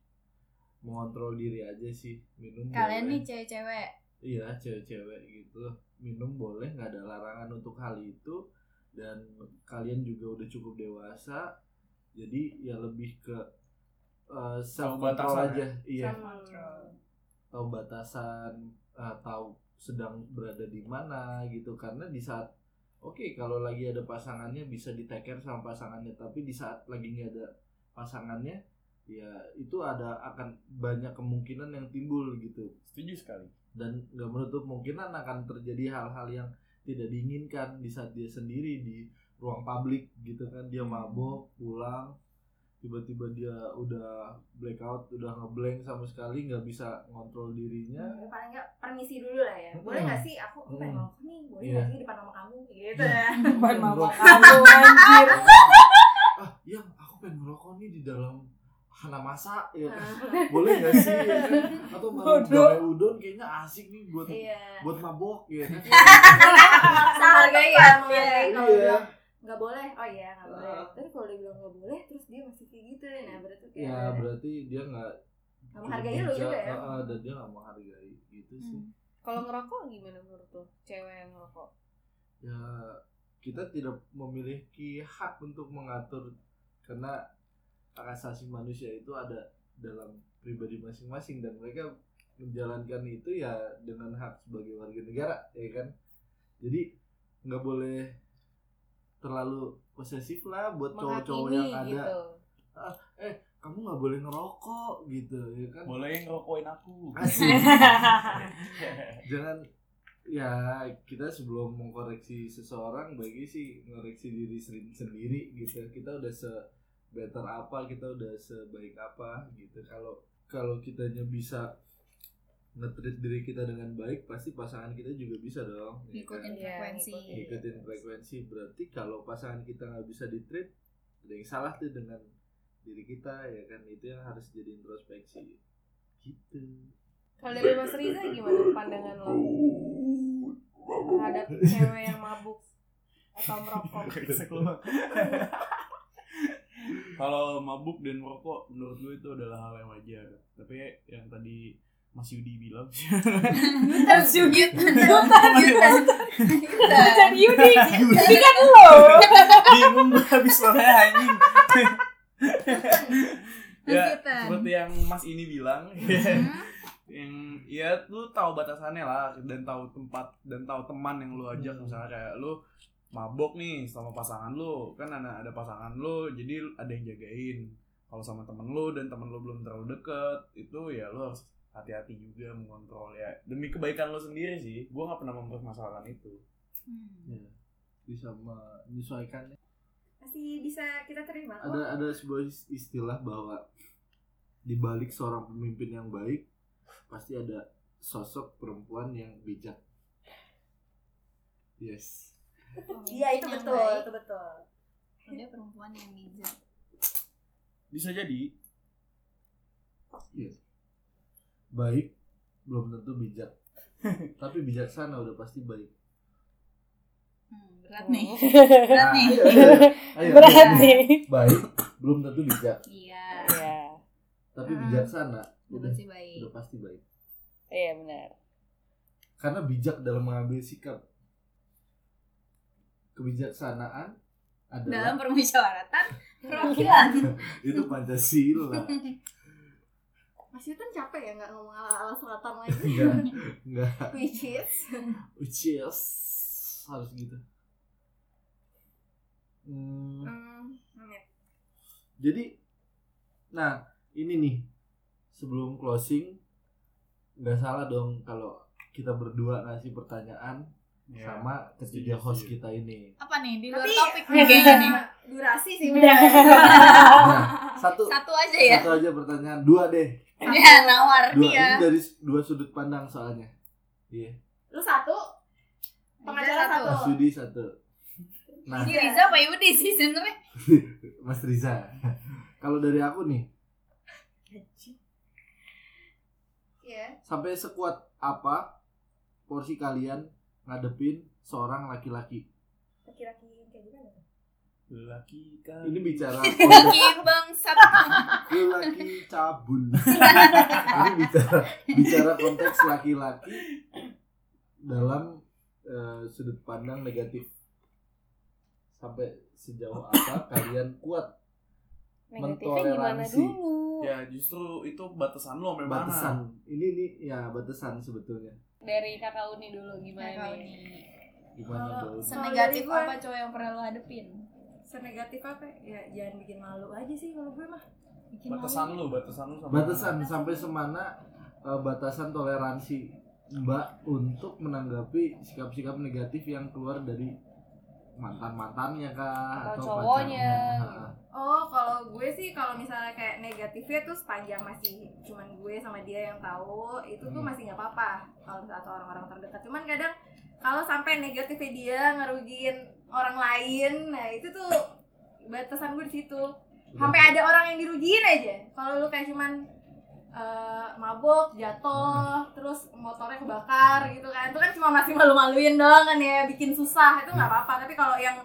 S1: mengontrol diri aja sih minum ya.
S3: kalian
S1: boleh.
S3: nih cewek-cewek
S1: iya cewek-cewek gitu minum boleh nggak ada larangan untuk hal itu dan kalian juga udah cukup dewasa jadi ya lebih ke self
S5: batasan
S1: control
S5: ya?
S1: aja iya
S7: Hmm.
S1: tahu batasan eh, tahu sedang berada di mana gitu karena di saat oke kalau lagi ada pasangannya bisa diteker sama pasangannya tapi di saat lagi nggak ada pasangannya ya itu ada akan banyak kemungkinan yang timbul gitu
S5: setuju sekali
S1: dan nggak menutup kemungkinan akan terjadi hal-hal yang tidak diinginkan di saat dia sendiri di ruang publik gitu kan dia mabok pulang tiba-tiba dia udah blackout udah ngeblank sama sekali nggak bisa ngontrol dirinya
S7: Ya, paling nggak permisi dulu lah ya. Boleh nggak sih aku aku pengen
S1: Hmm.
S7: ngerokok nih? Boleh
S1: Iya.
S7: nggak sih di depan sama kamu? Gitu ya.
S8: Depan mama kamu anjir.
S1: ah yang aku pengen ngerokok nih di dalam hana masa ya kan.
S7: Ah,
S1: boleh nggak sih ya kan? atau malam
S8: Bodoh.
S1: damai udon kayaknya asik nih buat
S7: Iya.
S1: buat mabok ya kan
S7: Menghargai ya, menghargai kalau
S1: Iya.
S7: bilang nggak boleh. Oh iya, nggak boleh.
S1: Ah.
S7: Terus kalau dia bilang nggak boleh, terus dia masih kayak gitu nah berarti kayak
S1: ya berarti dia nggak
S7: Nggak menghargai lu juga ya. Hmm.
S1: Heeh, dan dia nggak menghargai gitu sih
S2: Kalau ngerokok gimana menurut lo? Cewek yang ngerokok.
S1: ya kita tidak memiliki hak untuk mengatur karena hak asasi manusia itu ada dalam pribadi masing-masing dan mereka menjalankan itu ya dengan hak sebagai warga negara ya kan jadi nggak boleh terlalu posesif lah buat cowok-cowok yang ada "Ah, eh,
S2: gitu.
S1: kamu nggak boleh ngerokok gitu ya kan
S5: boleh ngerokokin aku
S1: Asik. jangan ya kita sebelum mengkoreksi seseorang bagi sih ngoreksi diri sen- sendiri gitu kita udah se better apa kita udah sebaik apa gitu kalau kalau kitanya bisa ngetrit diri kita dengan baik pasti pasangan kita juga bisa dong ya kan?
S3: ngikutin
S2: Iya,
S3: frekuensi
S2: ngikutin.
S1: ikutin frekuensi berarti kalau pasangan kita nggak bisa ditreat ada yang salah tuh dengan diri kita ya kan itu yang harus jadi introspeksi gitu
S2: Kalau dari Mas Riza gimana pandangan lo terhadap cewek yang mabuk atau merokok?
S5: Brengsek lu. Kalau mabuk dan merokok menurut gue itu adalah hal yang wajar. Tapi yang tadi Mas Yudi bilang
S8: Terus Yudi
S3: Yuta. Iya.
S8: jadi Yudi
S1: Yudi.
S8: kan lo
S5: bingung gue habis soalnya anjing ya
S3: Lanjutan.
S5: seperti yang mas ini bilang ya. yang ya lu tahu batasannya lah dan tahu tempat dan tahu teman yang lu ajak misalnya kayak lu mabok nih sama pasangan lu kan ada ada pasangan lu jadi ada yang jagain kalau sama temen lu dan temen lu belum terlalu deket itu ya lu harus hati-hati juga mengontrol ya demi kebaikan lu sendiri sih gua nggak pernah mempermasalahkan itu
S3: Hmm.
S1: bisa menyesuaikan
S7: masih bisa kita terima kok.
S1: ada ada sebuah istilah bahwa di balik seorang pemimpin yang baik pasti ada sosok perempuan yang bijak yes
S7: Iya itu
S3: Oh, Yang
S7: betul,
S3: baik.
S7: itu betul.
S3: Dia perempuan yang bijak.
S5: bisa jadi
S1: baik belum tentu bijak tapi bijaksana udah pasti baik
S3: Hmm, berat nih.
S7: Oh.
S1: berat
S3: nih.
S1: ayo,
S8: berat
S1: ayo.
S8: nih
S1: baik belum tentu bijak
S3: Iya.
S8: iya
S1: tapi
S3: Hmm.
S1: bijaksana udah
S3: Masih baik.
S1: udah pasti baik
S8: iya benar
S1: karena bijak dalam mengambil sikap kebijaksanaan
S3: Dalam
S1: adalah
S3: permusyawaratan perwakilan.
S1: itu pancasila
S7: Mas Yutun capek ya nggak ngomong ala-ala selatan lagi.
S1: enggak enggak
S7: Which is
S1: Ucius harus gitu. Hmm,
S7: Hmm, ya.
S1: jadi, nah ini nih sebelum closing nggak salah dong kalau kita berdua ngasih pertanyaan
S5: Ya.
S1: sama ketiga
S5: Setuju,
S1: host
S5: setuju.
S1: kita ini.
S3: Apa nih di luar
S7: Tapi
S3: topik
S7: eh,
S3: nih kayaknya nih.
S7: durasi sih
S3: Iya.
S8: Udah.
S7: bener.
S1: Nah, satu
S3: Satu aja
S8: Iya.
S3: ya.
S1: satu aja pertanyaan dua deh.
S3: Dia nawar
S1: Dua ini
S3: dia.
S1: dari dua sudut pandang soalnya. Iya.
S7: Lu satu,
S3: Dia Iya,
S7: pengacara
S1: Mas
S3: satu.
S7: satu.
S1: Yudi satu. Nah,
S3: Ini Riza apa Yudi sih sebenarnya?
S1: Mas Riza. Kalau dari aku nih,
S7: Iya.
S1: sampai sekuat apa porsi kalian ngadepin seorang laki-laki
S7: Laki-laki yang kayak gitu kan ya? gimana?
S5: laki kan
S1: ini bicara
S3: Lagi bangsat.
S1: laki cabul ini bicara bicara konteks laki-laki dalam eh, sudut pandang negatif sampai sejauh apa kalian kuat
S8: negatifnya gimana
S1: Mentoleransi.
S8: dulu
S5: ya justru itu batasan lo memang
S1: batasan ini nih ya batasan sebetulnya
S2: dari kakak Uni dulu gimana nih
S1: gimana
S7: Kalau
S1: Daud?
S3: Senegatif
S7: Kalau dari
S3: apa cowok yang pernah lo hadepin?
S7: Senegatif apa? Ya jangan bikin malu aja sih kalau gue mah.
S3: Bikin
S5: batasan lu batasan lu sama
S1: batasan sampai semana eh, batasan toleransi Mbak untuk menanggapi sikap-sikap negatif yang keluar dari mantan-mantannya kah
S2: Atau
S1: atau,
S2: cowoknya.
S1: pacarnya.
S7: Oh, kalau gue sih kalau misalnya kayak negatifnya tuh sepanjang masih cuman gue sama dia yang tahu, itu tuh
S1: Hmm.
S7: masih nggak apa-apa. Kalau misalnya atau orang-orang terdekat. Cuman kadang kalau sampai negatifnya dia ngerugiin orang lain, nah itu tuh batasan gue di situ. Sampai ada orang yang dirugiin aja. Kalau lu kayak cuman eh,
S1: Hmm.
S7: mabok, jatuh, terus motornya kebakar gitu kan. Itu kan cuma masih malu-maluin doang kan ya, bikin susah. Itu nggak
S1: Hmm.
S7: apa-apa. Tapi kalau yang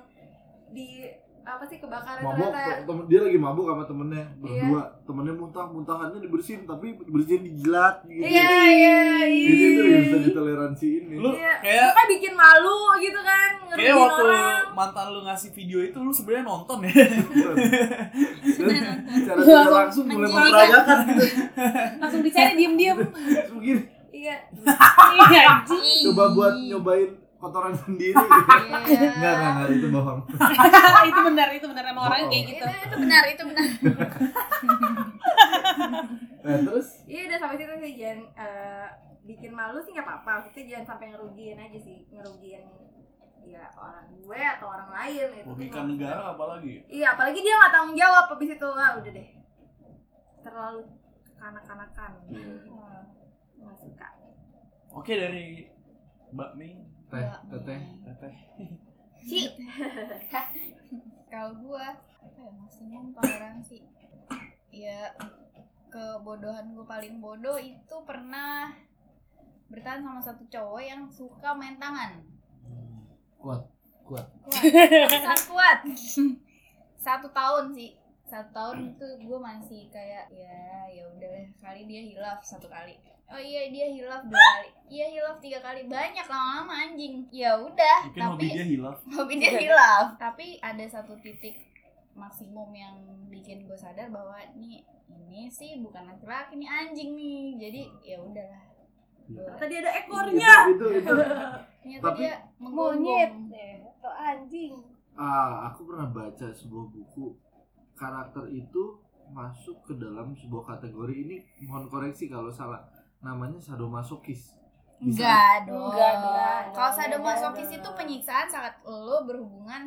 S7: di apa sih kebakaran
S1: mabok
S7: ternyata
S1: te- temen- dia lagi mabok sama temennya berdua temennya muntah muntahannya dibersihin tapi dibersihin dijilat gitu
S7: Iya, iya,
S1: Jadi itu
S7: iya.
S1: nggak bisa ditoleransi ini
S5: lu
S7: Iya.
S5: kayak
S7: Kan bikin malu gitu kan,
S5: kayak
S7: ngerugiin
S5: waktu
S7: orang.
S5: mantan lu ngasih video itu lu sebenarnya nonton ya
S1: Dan secara tidak langsung mulai
S3: Menjijikan.
S1: memperagakan
S2: langsung dicari diem-diem
S1: mungkin
S7: Iya.
S2: Iya, anjing.
S1: coba buat nyobain kotoran sendiri
S3: Iya.
S1: nggak nggak nggak itu bohong
S2: itu benar itu benar emang orangnya kayak gitu
S3: Itu, itu benar, itu benar.
S1: nah terus
S7: Iya udah sampai situ sih jangan eh, bikin malu sih nggak apa-apa. Maksudnya jangan sampai ngerugiin aja sih, ngerugiin ya orang gue atau orang lain itu. tuh
S5: merugikan
S7: nggak-
S5: negara apalagi
S7: Iya, apalagi dia nggak tanggung jawab habis itu. Wah, udah deh. Terlalu kanak-kanakan. Wah, nggak suka.
S5: Iya. oke dari mbak Mei
S1: teh
S3: Iya.
S1: teteh
S5: teteh
S3: Ci. Kalau gua apa ya maksimum toleransi. Ya kebodohan gua paling bodoh itu pernah bertahan sama satu cowok yang suka main tangan.
S1: kuat kuat
S3: Kuat. Sangat kuat. Satu tahun sih. satu tahun itu gue masih kayak ya ya udah lah, kali dia hilaf satu kali oh iya dia hilaf dua kali iya hilaf tiga kali banyak lama-lama anjing ya udah
S5: Mungkin hobi
S3: tapi ya,
S5: dia hilaf.
S3: hobi dia hilaf Iya. tapi ada satu titik maksimum yang bikin gue sadar bahwa nih ini sih bukan laki-laki nih anjing nih jadi ya udahlah Gua-
S7: Tadi ada ekornya.
S1: Itu, Iya. itu, itu.
S3: ternyata
S1: Tapi-
S3: dia menggonggong.
S2: monyet
S3: Iya,
S2: deh atau anjing
S1: Ah, aku pernah baca sebuah buku karakter itu masuk ke dalam sebuah kategori ini mohon koreksi kalau salah namanya sadomasokis.
S3: enggak dong
S8: Enggak, enggak.
S3: kalau sadomasokis itu penyiksaan saat lo berhubungan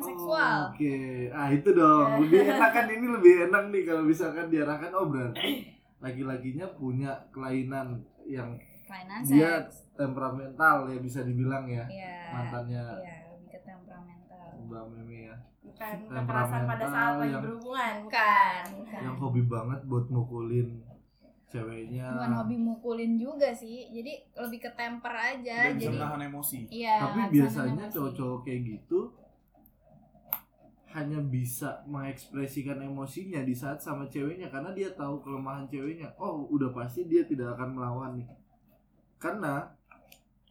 S1: Oh,
S3: kan seksual
S1: Oke, ah itu dong. Lebih enak kan ini lebih enak nih kalau misalkan diarahkan oh berarti laki-lakinya punya kelainan yang
S3: kelainan
S1: Dia-
S3: seks
S1: temperamental ya bisa dibilang ya
S3: ya
S1: mantannya
S3: ya lebih ke temperamental
S1: Mbak Meme ya
S3: Nah.
S7: Bukan kekerasan pada saat
S1: Temperamental
S7: lagi
S5: iya.
S1: yang-
S7: berhubungan.
S3: bukan bukan
S1: yang hobi banget buat mukulin ceweknya
S3: bukan hobi ya, mukulin juga sih jadi lebih ke temper aja
S5: Dia bisa
S3: jadi
S5: menahan emosi.
S3: iya
S1: tapi
S3: alasannya
S1: biasanya
S3: masih-
S1: cowok-cowok kayak gitu hanya bisa mengekspresikan emosinya di saat sama ceweknya karena dia tahu kelemahan ceweknya oh udah pasti dia tidak akan melawan nih karena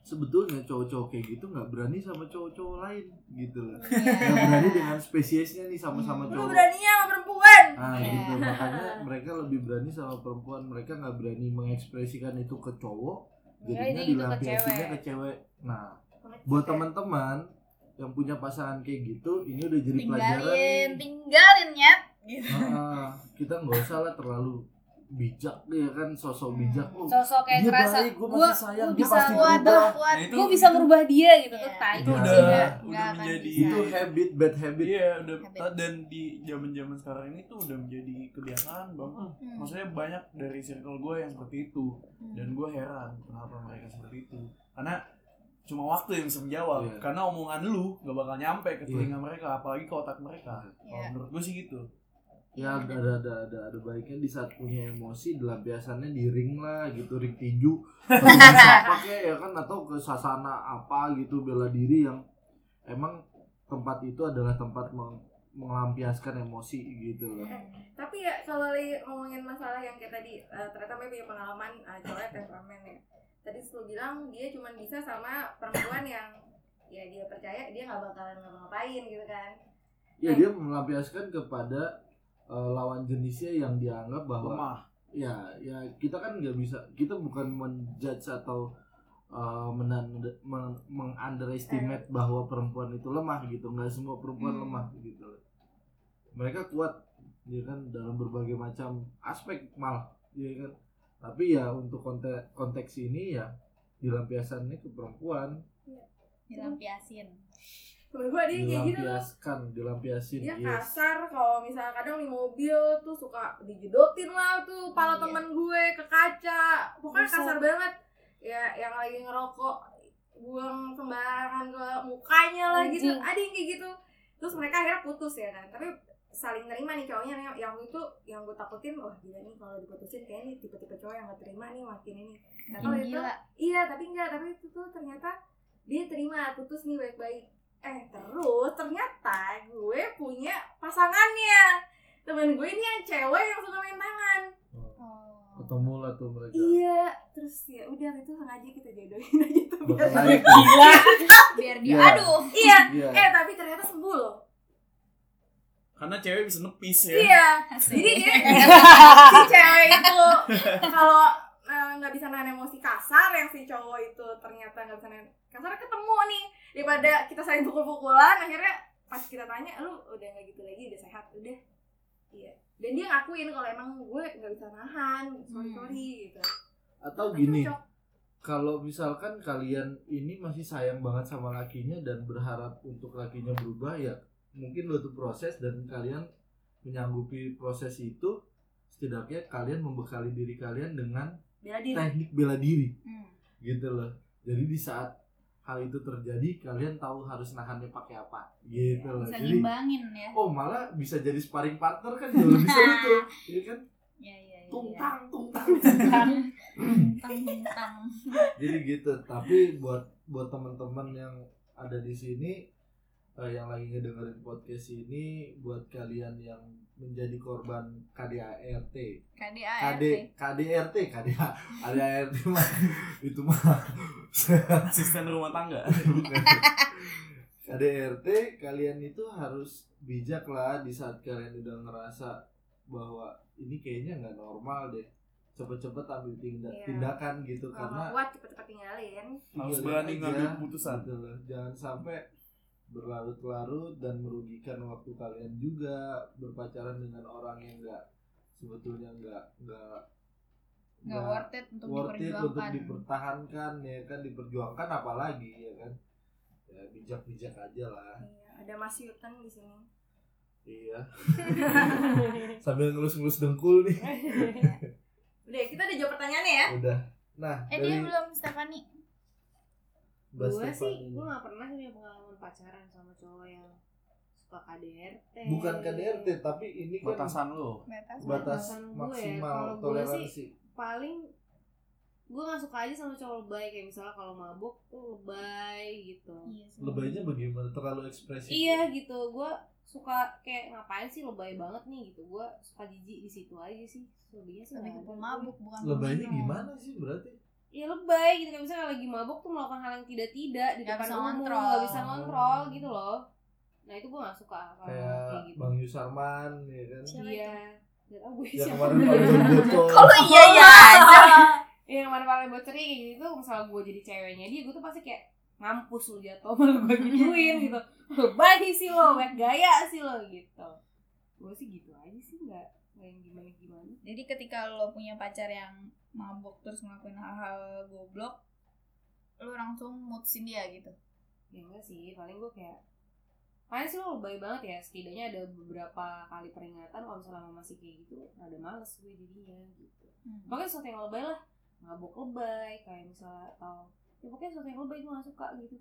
S1: sebetulnya cowok-cowok kayak gitu nggak berani sama cowok-cowok lain gitu loh
S3: Iya.
S1: nggak berani dengan spesiesnya nih sama-sama
S3: Hmm.
S7: Lu
S1: cowok
S7: beraninya sama perempuan.
S1: Nah,
S3: Iya.
S1: gitu. Makanya mereka lebih berani sama perempuan. Mereka nggak berani mengekspresikan itu ke cowok. Jadinya
S2: Iya, ini itu ke
S1: dilampiaskannya
S2: cewek.
S1: ke cewek. Nah, buat teman-teman yang punya pasangan kayak gitu, ini udah jadi pelajaran.
S3: tinggalin tinggalin ya
S1: Ah, kita nggak usah lah terlalu bijak deh kan sosok bijak. Oh,
S2: Hmm. sosok kayak
S1: dia
S2: ngerasa
S1: baik, gue
S2: gua
S1: masih sayang,
S2: gua
S1: dia
S2: bisa
S1: pasti
S2: kuat
S1: berubah.
S3: kuat
S5: Nah, itu-
S2: gue bisa merubah dia gitu tuh
S3: Iya.
S2: tai
S5: Itu
S2: sih,
S5: udah
S2: nggak-
S5: udah
S3: nggak akan
S5: menjadi
S3: bisa.
S1: Itu habit, bad habit.
S5: Iya, udah
S3: Habit.
S5: dan di zaman-zaman sekarang ini tuh udah menjadi kebiasaan, Bang.
S3: Hmm.
S5: Maksudnya banyak dari circle gue yang seperti itu dan gue heran kenapa
S1: Iya,
S5: mereka seperti itu. Karena cuma waktu yang bisa menjawab
S1: Iya.
S5: karena omongan lu gak bakal nyampe ke
S1: Iya.
S5: telinga mereka apalagi ke otak mereka
S3: Iya.
S5: Kalau menurut gue sih gitu
S1: Ya ada ada ada ada, ada baiknya di saat punya emosi dilampiasannya di ring lah gitu ring tinju atau apa kek, ya kan atau ke sasana apa gitu bela diri yang emang tempat itu adalah tempat meng- melampiaskan emosi gitu loh.
S7: Tapi ya kalau lagi ngomongin masalah yang kayak tadi eh, ternyata Mei punya pengalaman eh, cowok temperamen ya. Tadi lu bilang dia cuma bisa sama perempuan yang ya dia percaya dia nggak bakalan ngapa-ngapain gitu kan.
S1: Ya dia melampiaskan kepada eh, lawan jenisnya yang dianggap bahwa
S5: lemah
S1: ya ya kita kan nggak bisa kita bukan menjudge atau uh, menanda- men- mengunderestimate
S7: Iya.
S1: bahwa perempuan itu lemah gitu nggak semua perempuan
S3: Hmm.
S1: lemah gitu mereka kuat ya kan dalam berbagai macam aspek malah ya kan tapi ya untuk konteks konteks ini ya dilampiasannya ke perempuan
S3: dilampiasin
S7: Temen gua dia kayak gitu tuh.
S1: dilampiaskan dilampiasin
S7: Dia
S1: yes.
S7: Iya, kasar kalau misalnya kadang di mobil tuh suka dijedotin lah tuh pala
S3: Iya.
S7: temen gue ke kaca. Pokoknya
S8: Bisa.
S7: kasar banget. Ya yang lagi ngerokok buang sembarangan ke mukanya lah gitu.
S2: Anjing.
S7: Ada yang kayak gitu. Terus mereka akhirnya putus ya kan. Tapi saling nerima nih cowoknya nih yang itu yang gue takutin wah gila nih kalau diputusin kayak ini tipe-tipe cowok yang gak terima nih makin ini Nah, kalau itu
S3: gila
S7: Iya, tapi enggak, tapi itu tuh ternyata dia terima putus nih baik-baik. Eh, terus ternyata gue punya pasangannya. Temen gue ini yang cewek yang suka main tangan.
S3: oh.
S1: ketemu lah tuh mereka
S7: Iya, terus ya udah itu sengaja kita jodohin aja tuh. biar-
S1: Bakal naik.
S3: biar dia
S1: Iya.
S3: aduh
S7: Iya.
S1: Iya.
S7: Eh, tapi ternyata sembuh loh.
S5: karena cewek bisa nepis ya
S7: Iya.
S3: Asik.
S7: Jadi dia si cewek itu kalau eh, nggak bisa nahan emosi kasar yang si cowok itu ternyata nggak bisa nahan kasar ketemu nih daripada kita saling pukul-pukulan akhirnya pas kita tanya lu udah nggak gitu lagi udah sehat udah iya dan dia ngakuin kalau emang gue nggak bisa nahan sorry sorry gitu
S1: atau gini
S7: Cocok.
S1: kalau misalkan kalian ini masih sayang banget sama lakinya dan berharap untuk lakinya berubah ya mungkin butuh proses dan kalian menyanggupi proses itu setidaknya kalian membekali diri kalian dengan
S7: bela diri
S1: teknik bela diri
S3: Hmm.
S1: gitu loh jadi di saat hal itu terjadi kalian tahu harus nahannya pakai apa gitu loh
S3: Iya, bisa
S1: jadi
S3: ngimbangin ya
S1: oh malah bisa jadi sparring partner kan jauh lebih seru tuh Iya kan
S3: ya ya ya
S1: tungtang tungtang
S3: tentang tentang
S1: jadi gitu tapi buat buat teman-teman yang ada di sini eh, yang lagi ngedengerin podcast ini buat kalian yang menjadi korban KDART
S3: KDART
S1: KD KDRT KDA KDART mah itu mah
S5: asisten rumah tangga
S1: Bukan. KDRT kalian itu harus bijak lah di saat kalian udah ngerasa bahwa ini kayaknya nggak normal deh cepet-cepet ambil tinda-
S7: Iya.
S1: tindakan gitu
S7: Kalau
S1: karena
S7: nggak Eh, kuat cepet-cepet tinggalin.
S5: harus
S1: Iya,
S5: berani
S1: aja.
S5: ngambil keputusan
S1: Betul. jangan sampai berlarut-larut dan merugikan waktu kalian juga berpacaran dengan orang yang nggak sebetulnya nggak nggak
S3: nggak worth it untuk
S1: Nah, worth it untuk
S3: diperjuangkan
S1: dipertahankan ya kan diperjuangkan apalagi ya kan ya bijak-bijak aja lah
S7: Iya, ada Mas Yutan di sini.
S1: iya sambil ngelus-ngelus dengkul nih
S7: Udah, kita udah jawab pertanyaannya ya.
S1: udah nah
S3: eh dia
S1: dari
S3: belum Stefani
S1: Mbak
S8: gue sih
S1: Stephanie.
S8: gue gak pernah punya pengalaman pacaran sama cowok yang suka KDRT
S1: bukan
S3: eh,
S1: KDRT tapi ini kan batas,
S5: batasan lo
S3: batas
S8: Batasan
S3: ya.
S8: gue. Kalau
S1: maksimal
S8: gue
S1: toleransi
S8: paling gue gak suka aja sama cowok lebay kayak misalnya kalau mabuk tuh lebay gitu
S3: Iya sih.
S1: lebaynya bagaimana terlalu ekspresif
S8: iya gitu gue suka kayak ngapain sih lebay banget nih gitu gue suka jijik di situ aja sih selebihnya sih
S3: lebih
S8: nggak
S3: ke
S8: ada.
S3: pemabuk bukan
S1: lebaynya
S3: peminum.
S1: gimana sih berarti
S8: Iya lebay gitu kayak misalnya lagi mabuk tuh melakukan hal yang tidak-tidak di
S3: Nggak
S8: depan
S3: bisa
S8: umum
S3: ngontrol.
S8: nggak bisa ngontrol gitu loh nah itu gue gak suka kalau kayak
S1: kayak
S8: gitu
S1: Bang Yusarman ya kan
S3: Siapa
S8: iya
S3: itu?
S8: Gak tau gue
S1: ya
S8: siapa.
S1: kemarin paling bocor
S3: Kalau iya iya aja.
S8: Iya yang mana paling bocori kayak gitu misalnya gue jadi ceweknya dia gue tuh pasti kayak mampus lu jatuh malu gue gituin gitu lebay sih lo banyak gaya sih lo gitu gue sih gitu aja sih nggak nggak yang gimana gimana
S3: Jadi ketika lo punya pacar yang mabuk terus ngelakuin hal-hal goblok, lo langsung mutusin dia gitu.
S8: ya enggak sih paling gue kayak paling sih lo lebay banget ya setidaknya ada beberapa kali peringatan kalau misalnya lo masih kayak gitu ada males gue jadinya gitu
S3: Hmm.
S8: pokoknya sesuatu yang lebay lah mabuk lebay kayak misalnya atau ya pokoknya sesuatu yang lebay gue gak suka gitu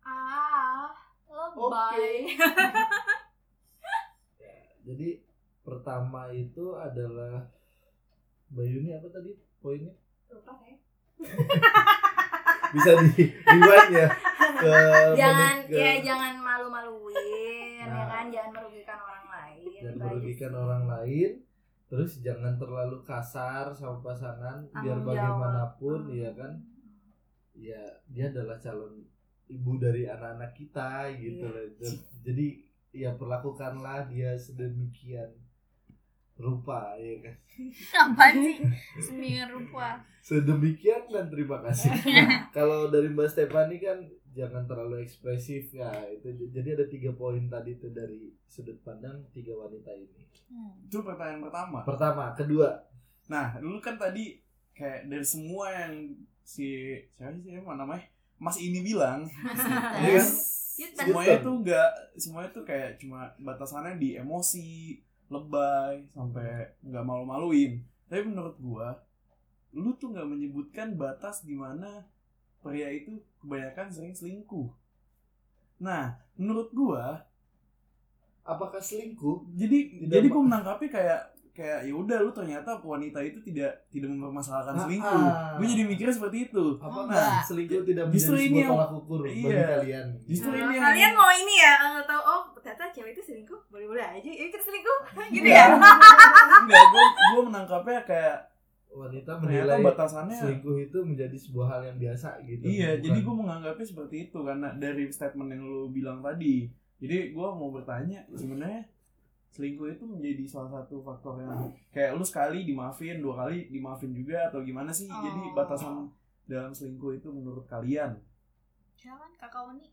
S3: Ah, lebay.
S1: jadi pertama itu adalah Mbak Yuni apa tadi poinnya
S7: Lupa saya.
S1: bisa di rewind ya ke
S7: Jangan
S1: menit ke-
S7: ya jangan malu-maluin ya
S1: Nah.
S7: kan, jangan merugikan orang lain.
S1: jangan
S7: Itu aja
S1: merugikan
S7: sih.
S1: orang lain terus jangan terlalu kasar sama pasangan biar
S7: Tanggung jawab.
S1: bagaimanapun
S7: Hmm.
S1: ya kan ya dia adalah calon ibu dari anak-anak kita gitu
S7: Iya.
S1: loh Dan- jadi ya perlakukanlah dia sedemikian rupa ya kan
S3: Apaan sih? Semir rupa.
S1: sedemikian dan terima kasih kalau dari Mbak Stefani kan jangan terlalu ekspresif ya itu jadi ada tiga poin tadi itu dari sudut pandang tiga wanita ini
S3: Hmm.
S5: itu pertanyaan pertama
S1: pertama kedua
S5: Nah, dulu kan tadi kayak dari semua yang si siapa sih siapa namanya? Mas ini bilang, ya kan?
S1: Gitu.
S7: Yutan.
S5: semuanya tuh enggak semuanya tuh kayak cuma batasannya di emosi, lebay, sampai nggak malu-maluin. Tapi menurut gua, lu tuh nggak menyebutkan batas di mana pria itu kebanyakan sering selingkuh. Nah, menurut gua,
S1: apakah selingkuh
S5: jadi
S1: Tidak
S5: jadi
S1: ma-
S5: gue menangkapi kayak kayak ya udah lu ternyata wanita itu tidak tidak
S1: Ah,
S5: mempermasalahkan selingkuh
S1: ah.
S5: gue jadi mikirnya seperti itu
S1: apakah
S3: enggak.
S1: selingkuh tidak
S5: Justru
S1: menjadi
S5: ini
S1: sebuah
S5: yang-
S1: tolak ukur bagi
S5: iya.
S1: kalian
S5: justru
S7: Nah,
S5: ini yang-
S7: kalian mau ini ya eh, tahu oh ternyata cewek itu selingkuh boleh-boleh aja ya kita selingkuh gitu
S5: Enggak.
S7: ya
S5: enggak gue gue menangkapnya kayak
S1: wanita
S5: ternyata
S1: menilai
S5: batasannya
S1: selingkuh itu menjadi sebuah hal yang biasa gitu
S5: iya
S1: Bukan-
S5: jadi gue menganggapnya seperti itu karena dari statement yang lu bilang tadi jadi gue mau bertanya sebenarnya selingkuh itu menjadi salah satu faktor yang kayak lu sekali dimaafin dua kali dimaafin juga atau gimana sih jadi
S3: Oh.
S5: batasan dalam selingkuh itu menurut kalian
S3: Jangan kakak Uni.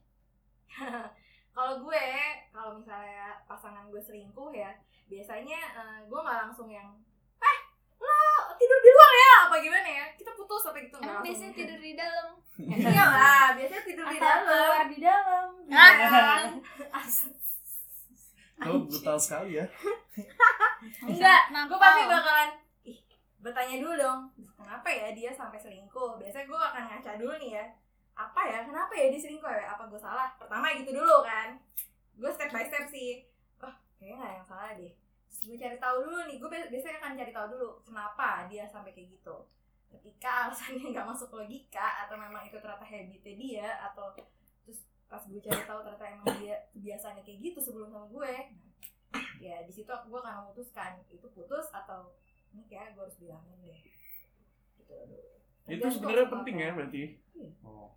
S7: kalau gue kalau misalnya pasangan gue selingkuh ya biasanya eh, gue nggak langsung yang eh lo tidur di luar ya apa gimana ya kita putus apa gitu nggak
S3: Emang Eh,
S7: langsung.
S3: biasanya tidur di dalam.
S7: iya lah biasanya tidur di
S8: Atau
S7: dalam Iya.
S8: keluar di dalam
S3: Ah.
S5: Lo brutal sekali ya
S7: enggak
S3: nah
S7: gue pasti bakalan ih bertanya dulu dong kenapa ya dia sampai selingkuh biasanya gue akan ngaca dulu nih ya apa ya kenapa ya dia selingkuh ya apa gue salah pertama gitu dulu kan gue step by step sih oh kayaknya nggak ada yang salah deh Terus gue cari tahu dulu nih gue bi- biasanya akan cari tahu dulu kenapa dia sampai kayak gitu ketika alasannya nggak masuk logika atau memang itu ternyata habitnya dia atau terus pas gue gue cari tahu ternyata emang dia kebiasaannya kayak gitu sebelum sama gue Nah, ya di situ aku gue akan memutuskan itu putus atau ini kayak gue harus bilangin deh gitu
S5: Itu
S7: Tergantung
S5: sebenarnya
S7: apa-apa.
S5: penting ya berarti.
S7: Iya.
S5: Oh.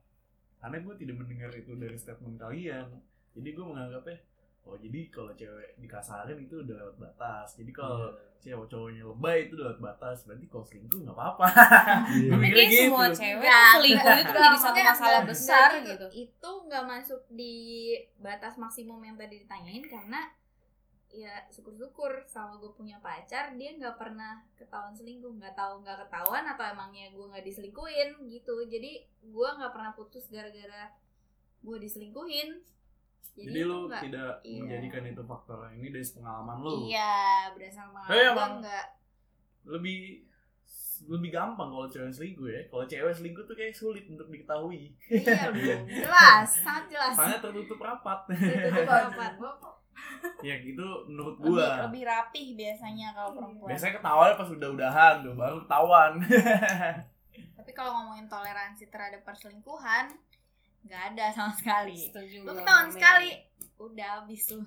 S5: Karena gue tidak mendengar itu
S3: Iya.
S5: dari statement kalian. Jadi gue menganggapnya oh jadi kalau cewek dikasarin itu udah lewat batas. Jadi kalau cewek cowoknya lebay itu udah lewat batas. Berarti kalau selingkuh nggak apa-apa.
S1: Iya.
S5: Tapi
S2: Kayaknya
S5: gitu.
S2: semua cewek
S3: Nggak,
S2: tuh selingkuh itu kan
S3: Nggak,
S2: jadi satu
S3: maksudnya
S2: masalah
S3: nggak-
S2: besar
S3: nggak
S2: gitu.
S3: Itu nggak masuk di batas maksimum yang tadi ditanyain karena ya syukur-syukur sama gue punya pacar dia nggak pernah ketahuan selingkuh nggak tahu nggak ketahuan atau emangnya gue nggak diselingkuhin gitu jadi gue nggak pernah putus gara-gara gue diselingkuhin jadi,
S5: Jadi
S3: itu
S5: lo
S3: nggak-
S5: tidak
S3: iya.
S5: menjadikan itu faktor ini dari pengalaman lo.
S3: iya berdasarkan
S5: Eh,
S3: pengalaman
S5: emang.
S3: gue nggak
S5: Lebih lebih gampang kalau cewek selingkuh ya. Kalau cewek selingkuh tuh kayak sulit untuk diketahui.
S3: iya belum jelas sangat jelas
S5: Sangat tertutup rapat.
S3: Tertutup rapat.
S7: gue kok
S5: ya gitu menurut
S3: lebih,
S5: gue.
S3: lebih rapih biasanya
S2: Iya.
S3: kalau perempuan
S5: Biasanya ketawanya pas udah udahan tuh baru ketahuan.
S3: Tapi kalau ngomongin toleransi terhadap perselingkuhan, nggak ada sama sekali.
S8: Setuju
S3: Lu
S8: gua
S3: ketahuan
S8: sama Mel.
S3: sekali, udah habis lu.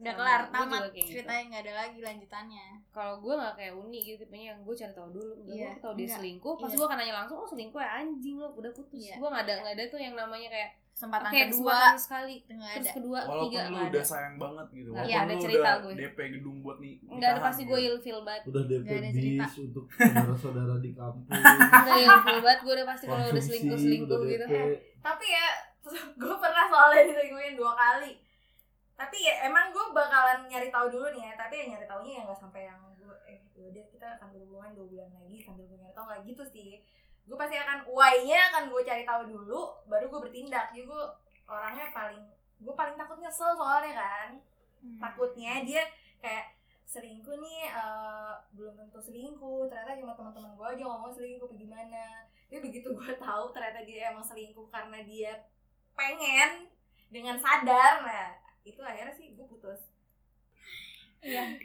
S3: Udah
S8: Sama,
S3: kelar,
S8: gua
S3: tamat
S8: juga kayak gitu.
S3: ceritanya nggak ada lagi lanjutannya.
S8: Kalau gue nggak kayak Uni gitu tipenya yang gue cari tahu dulu, enggak
S3: Iya,
S8: gue tahu dia
S3: enggak.
S8: selingkuh, pas
S3: Iya.
S8: gue akan nanya langsung oh selingkuh ya anjing lo udah putus.
S3: Iya,
S8: Gue nggak ada
S3: iya.
S8: nggak ada tuh yang namanya kayak
S3: Kesempatan
S8: kayak
S3: kedua
S8: dua kan sekali,
S3: nggak
S8: terus
S3: ada.
S8: kedua,
S5: Walaupun
S8: tiga
S5: lu
S8: nggak ada.
S5: udah sayang banget gitu.
S8: Nggak
S5: Walaupun
S8: ada. Ada
S5: lu
S8: cerita
S5: udah
S8: gue.
S5: DP gedung buat gitu. nih.
S8: Nggak ada pasti gue ilfil banget.
S1: udah DP
S3: Nggak ada cerita.
S1: bis untuk saudara-saudara di kampung
S8: Enggak ilfil banget gue udah pasti kalau udah
S1: konsumsi,
S8: selingkuh selingkuh
S1: udah
S8: gitu.
S3: Iya.
S1: DP.
S3: kan.
S7: tapi ya gue pernah soalnya diselingkuhin dua kali tapi ya emang gue bakalan nyari tahu dulu nih ya tapi ya nyari taunya ya nggak sampai yang gue eh yaudah kita akan berhubungan dua bulan lagi sambil gue nyari tahu nggak gitu sih gue pasti akan why-nya akan gue cari tahu dulu baru gue bertindak jadi gue orangnya paling gue paling takut nyesel soalnya kan
S3: Hmm.
S7: takutnya dia kayak selingkuh nih eh, belum tentu selingkuh ternyata cuma teman-teman gue aja ngomong selingkuh apa gimana tapi begitu gue tahu ternyata dia emang selingkuh karena dia pengen dengan sadar nah itu akhirnya sih gue putus
S3: Iya.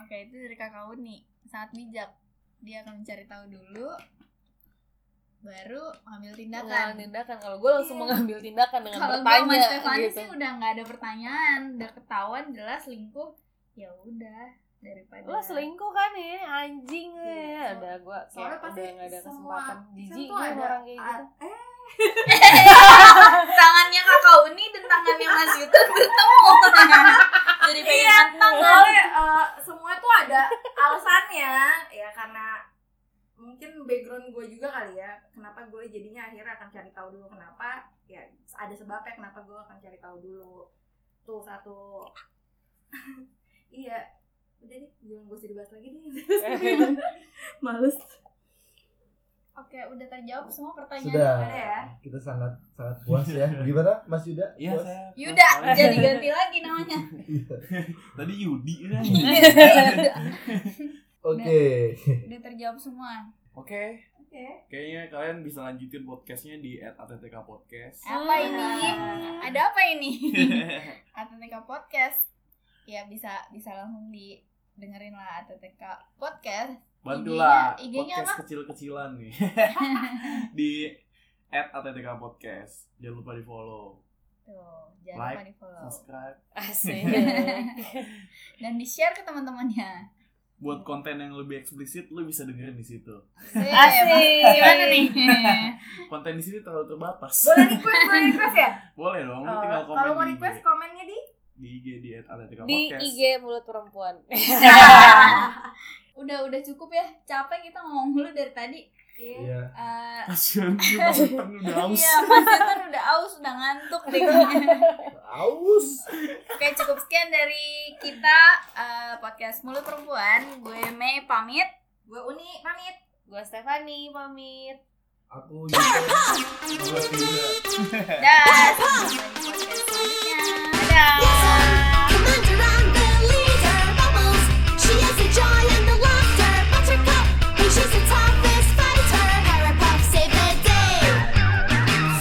S3: Oke, itu dari kakak Uni. Sangat bijak. Dia akan mencari tahu dulu baru ambil
S8: Mengambil
S3: tindakan.
S8: tindakan kalau gue langsung
S7: Iya.
S8: mengambil tindakan dengan
S3: Kalau gue sama
S8: bertanya
S3: Stefani
S8: gitu.
S3: sih udah nggak ada pertanyaan, udah ketahuan jelas selingkuh. Ya udah daripada
S8: Lo selingkuh kan ya, anjing ya.
S7: Iya,
S8: Udah gue kayak
S7: soalnya pasti
S8: udah gak ada
S7: semua
S8: kesempatan. Jijik
S7: Kan tuh
S8: gue
S7: ada-
S8: orang kayak gitu.
S7: a- eh,
S3: tangannya kakak Uni dan tangannya Mas Yutun bertemu jadi pegangan tangan
S7: soalnya eh, semua tuh ada alasannya ya karena mungkin background gue juga kali ya kenapa gue jadinya akhirnya akan cari tahu dulu kenapa ya ada sebabnya kenapa gue akan cari tahu dulu tuh satu iya udah deh jangan gue sedih dibahas lagi deh males
S3: oke udah terjawab semua pertanyaan
S1: sudah
S7: Ada ya?
S1: Nah, kita sangat sangat puas ya gimana Mas Yuda
S5: Iya
S1: Puas?
S5: saya.
S3: Yuda
S5: Mas,
S3: jadi ganti lagi namanya
S1: Iya.
S5: Tadi Yudi kan.
S1: oke
S3: udah terjawab semua
S5: Oke.
S7: oke
S5: Kayaknya kalian bisa lanjutin podcastnya di @attkpodcast. Podcast.
S3: apa ini ada apa ini ATTK podcast ya bisa bisa langsung didengerin lah ATTK podcast
S5: Bantulah
S3: IG-nya- IG-nya
S5: podcast
S3: apa?
S5: kecil-kecilan nih. di @attkpodcast. Podcast. Jangan lupa di follow,
S3: tuh jangan lupa
S5: Like,
S3: di follow
S5: subscribe.
S8: Asik.
S3: Iya, dan di share ke teman-temannya
S5: Buat
S8: Iya.
S5: konten yang lebih eksplisit, lu bisa dengerin di situ.
S3: Sip.
S8: Asik.
S3: gimana nih
S5: Konten di sini terlalu terbatas.
S7: boleh request boleh request ya
S5: Boleh dong, lu
S7: Oh,
S5: tinggal komen
S7: kalau mau
S5: di
S7: request
S5: IG.
S7: komennya di
S5: di IG di @atletika
S8: Di
S5: podcast.
S8: IG mulut perempuan.
S3: udah udah cukup ya capek kita ngomong dulu dari tadi
S1: Iya.
S3: Eh,
S5: Kasihan dia Mas Uten udah haus.
S3: Iya, Mas Yatan udah aus, udah ngantuk deh kayaknya.
S1: Iya. aus
S3: Oke, cukup sekian dari kita eh, podcast Mulut Perempuan. Gue Mei pamit.
S7: gue uni pamit
S8: gue Stefani pamit.
S1: aku Yuda Gua Yuda
S3: Dah.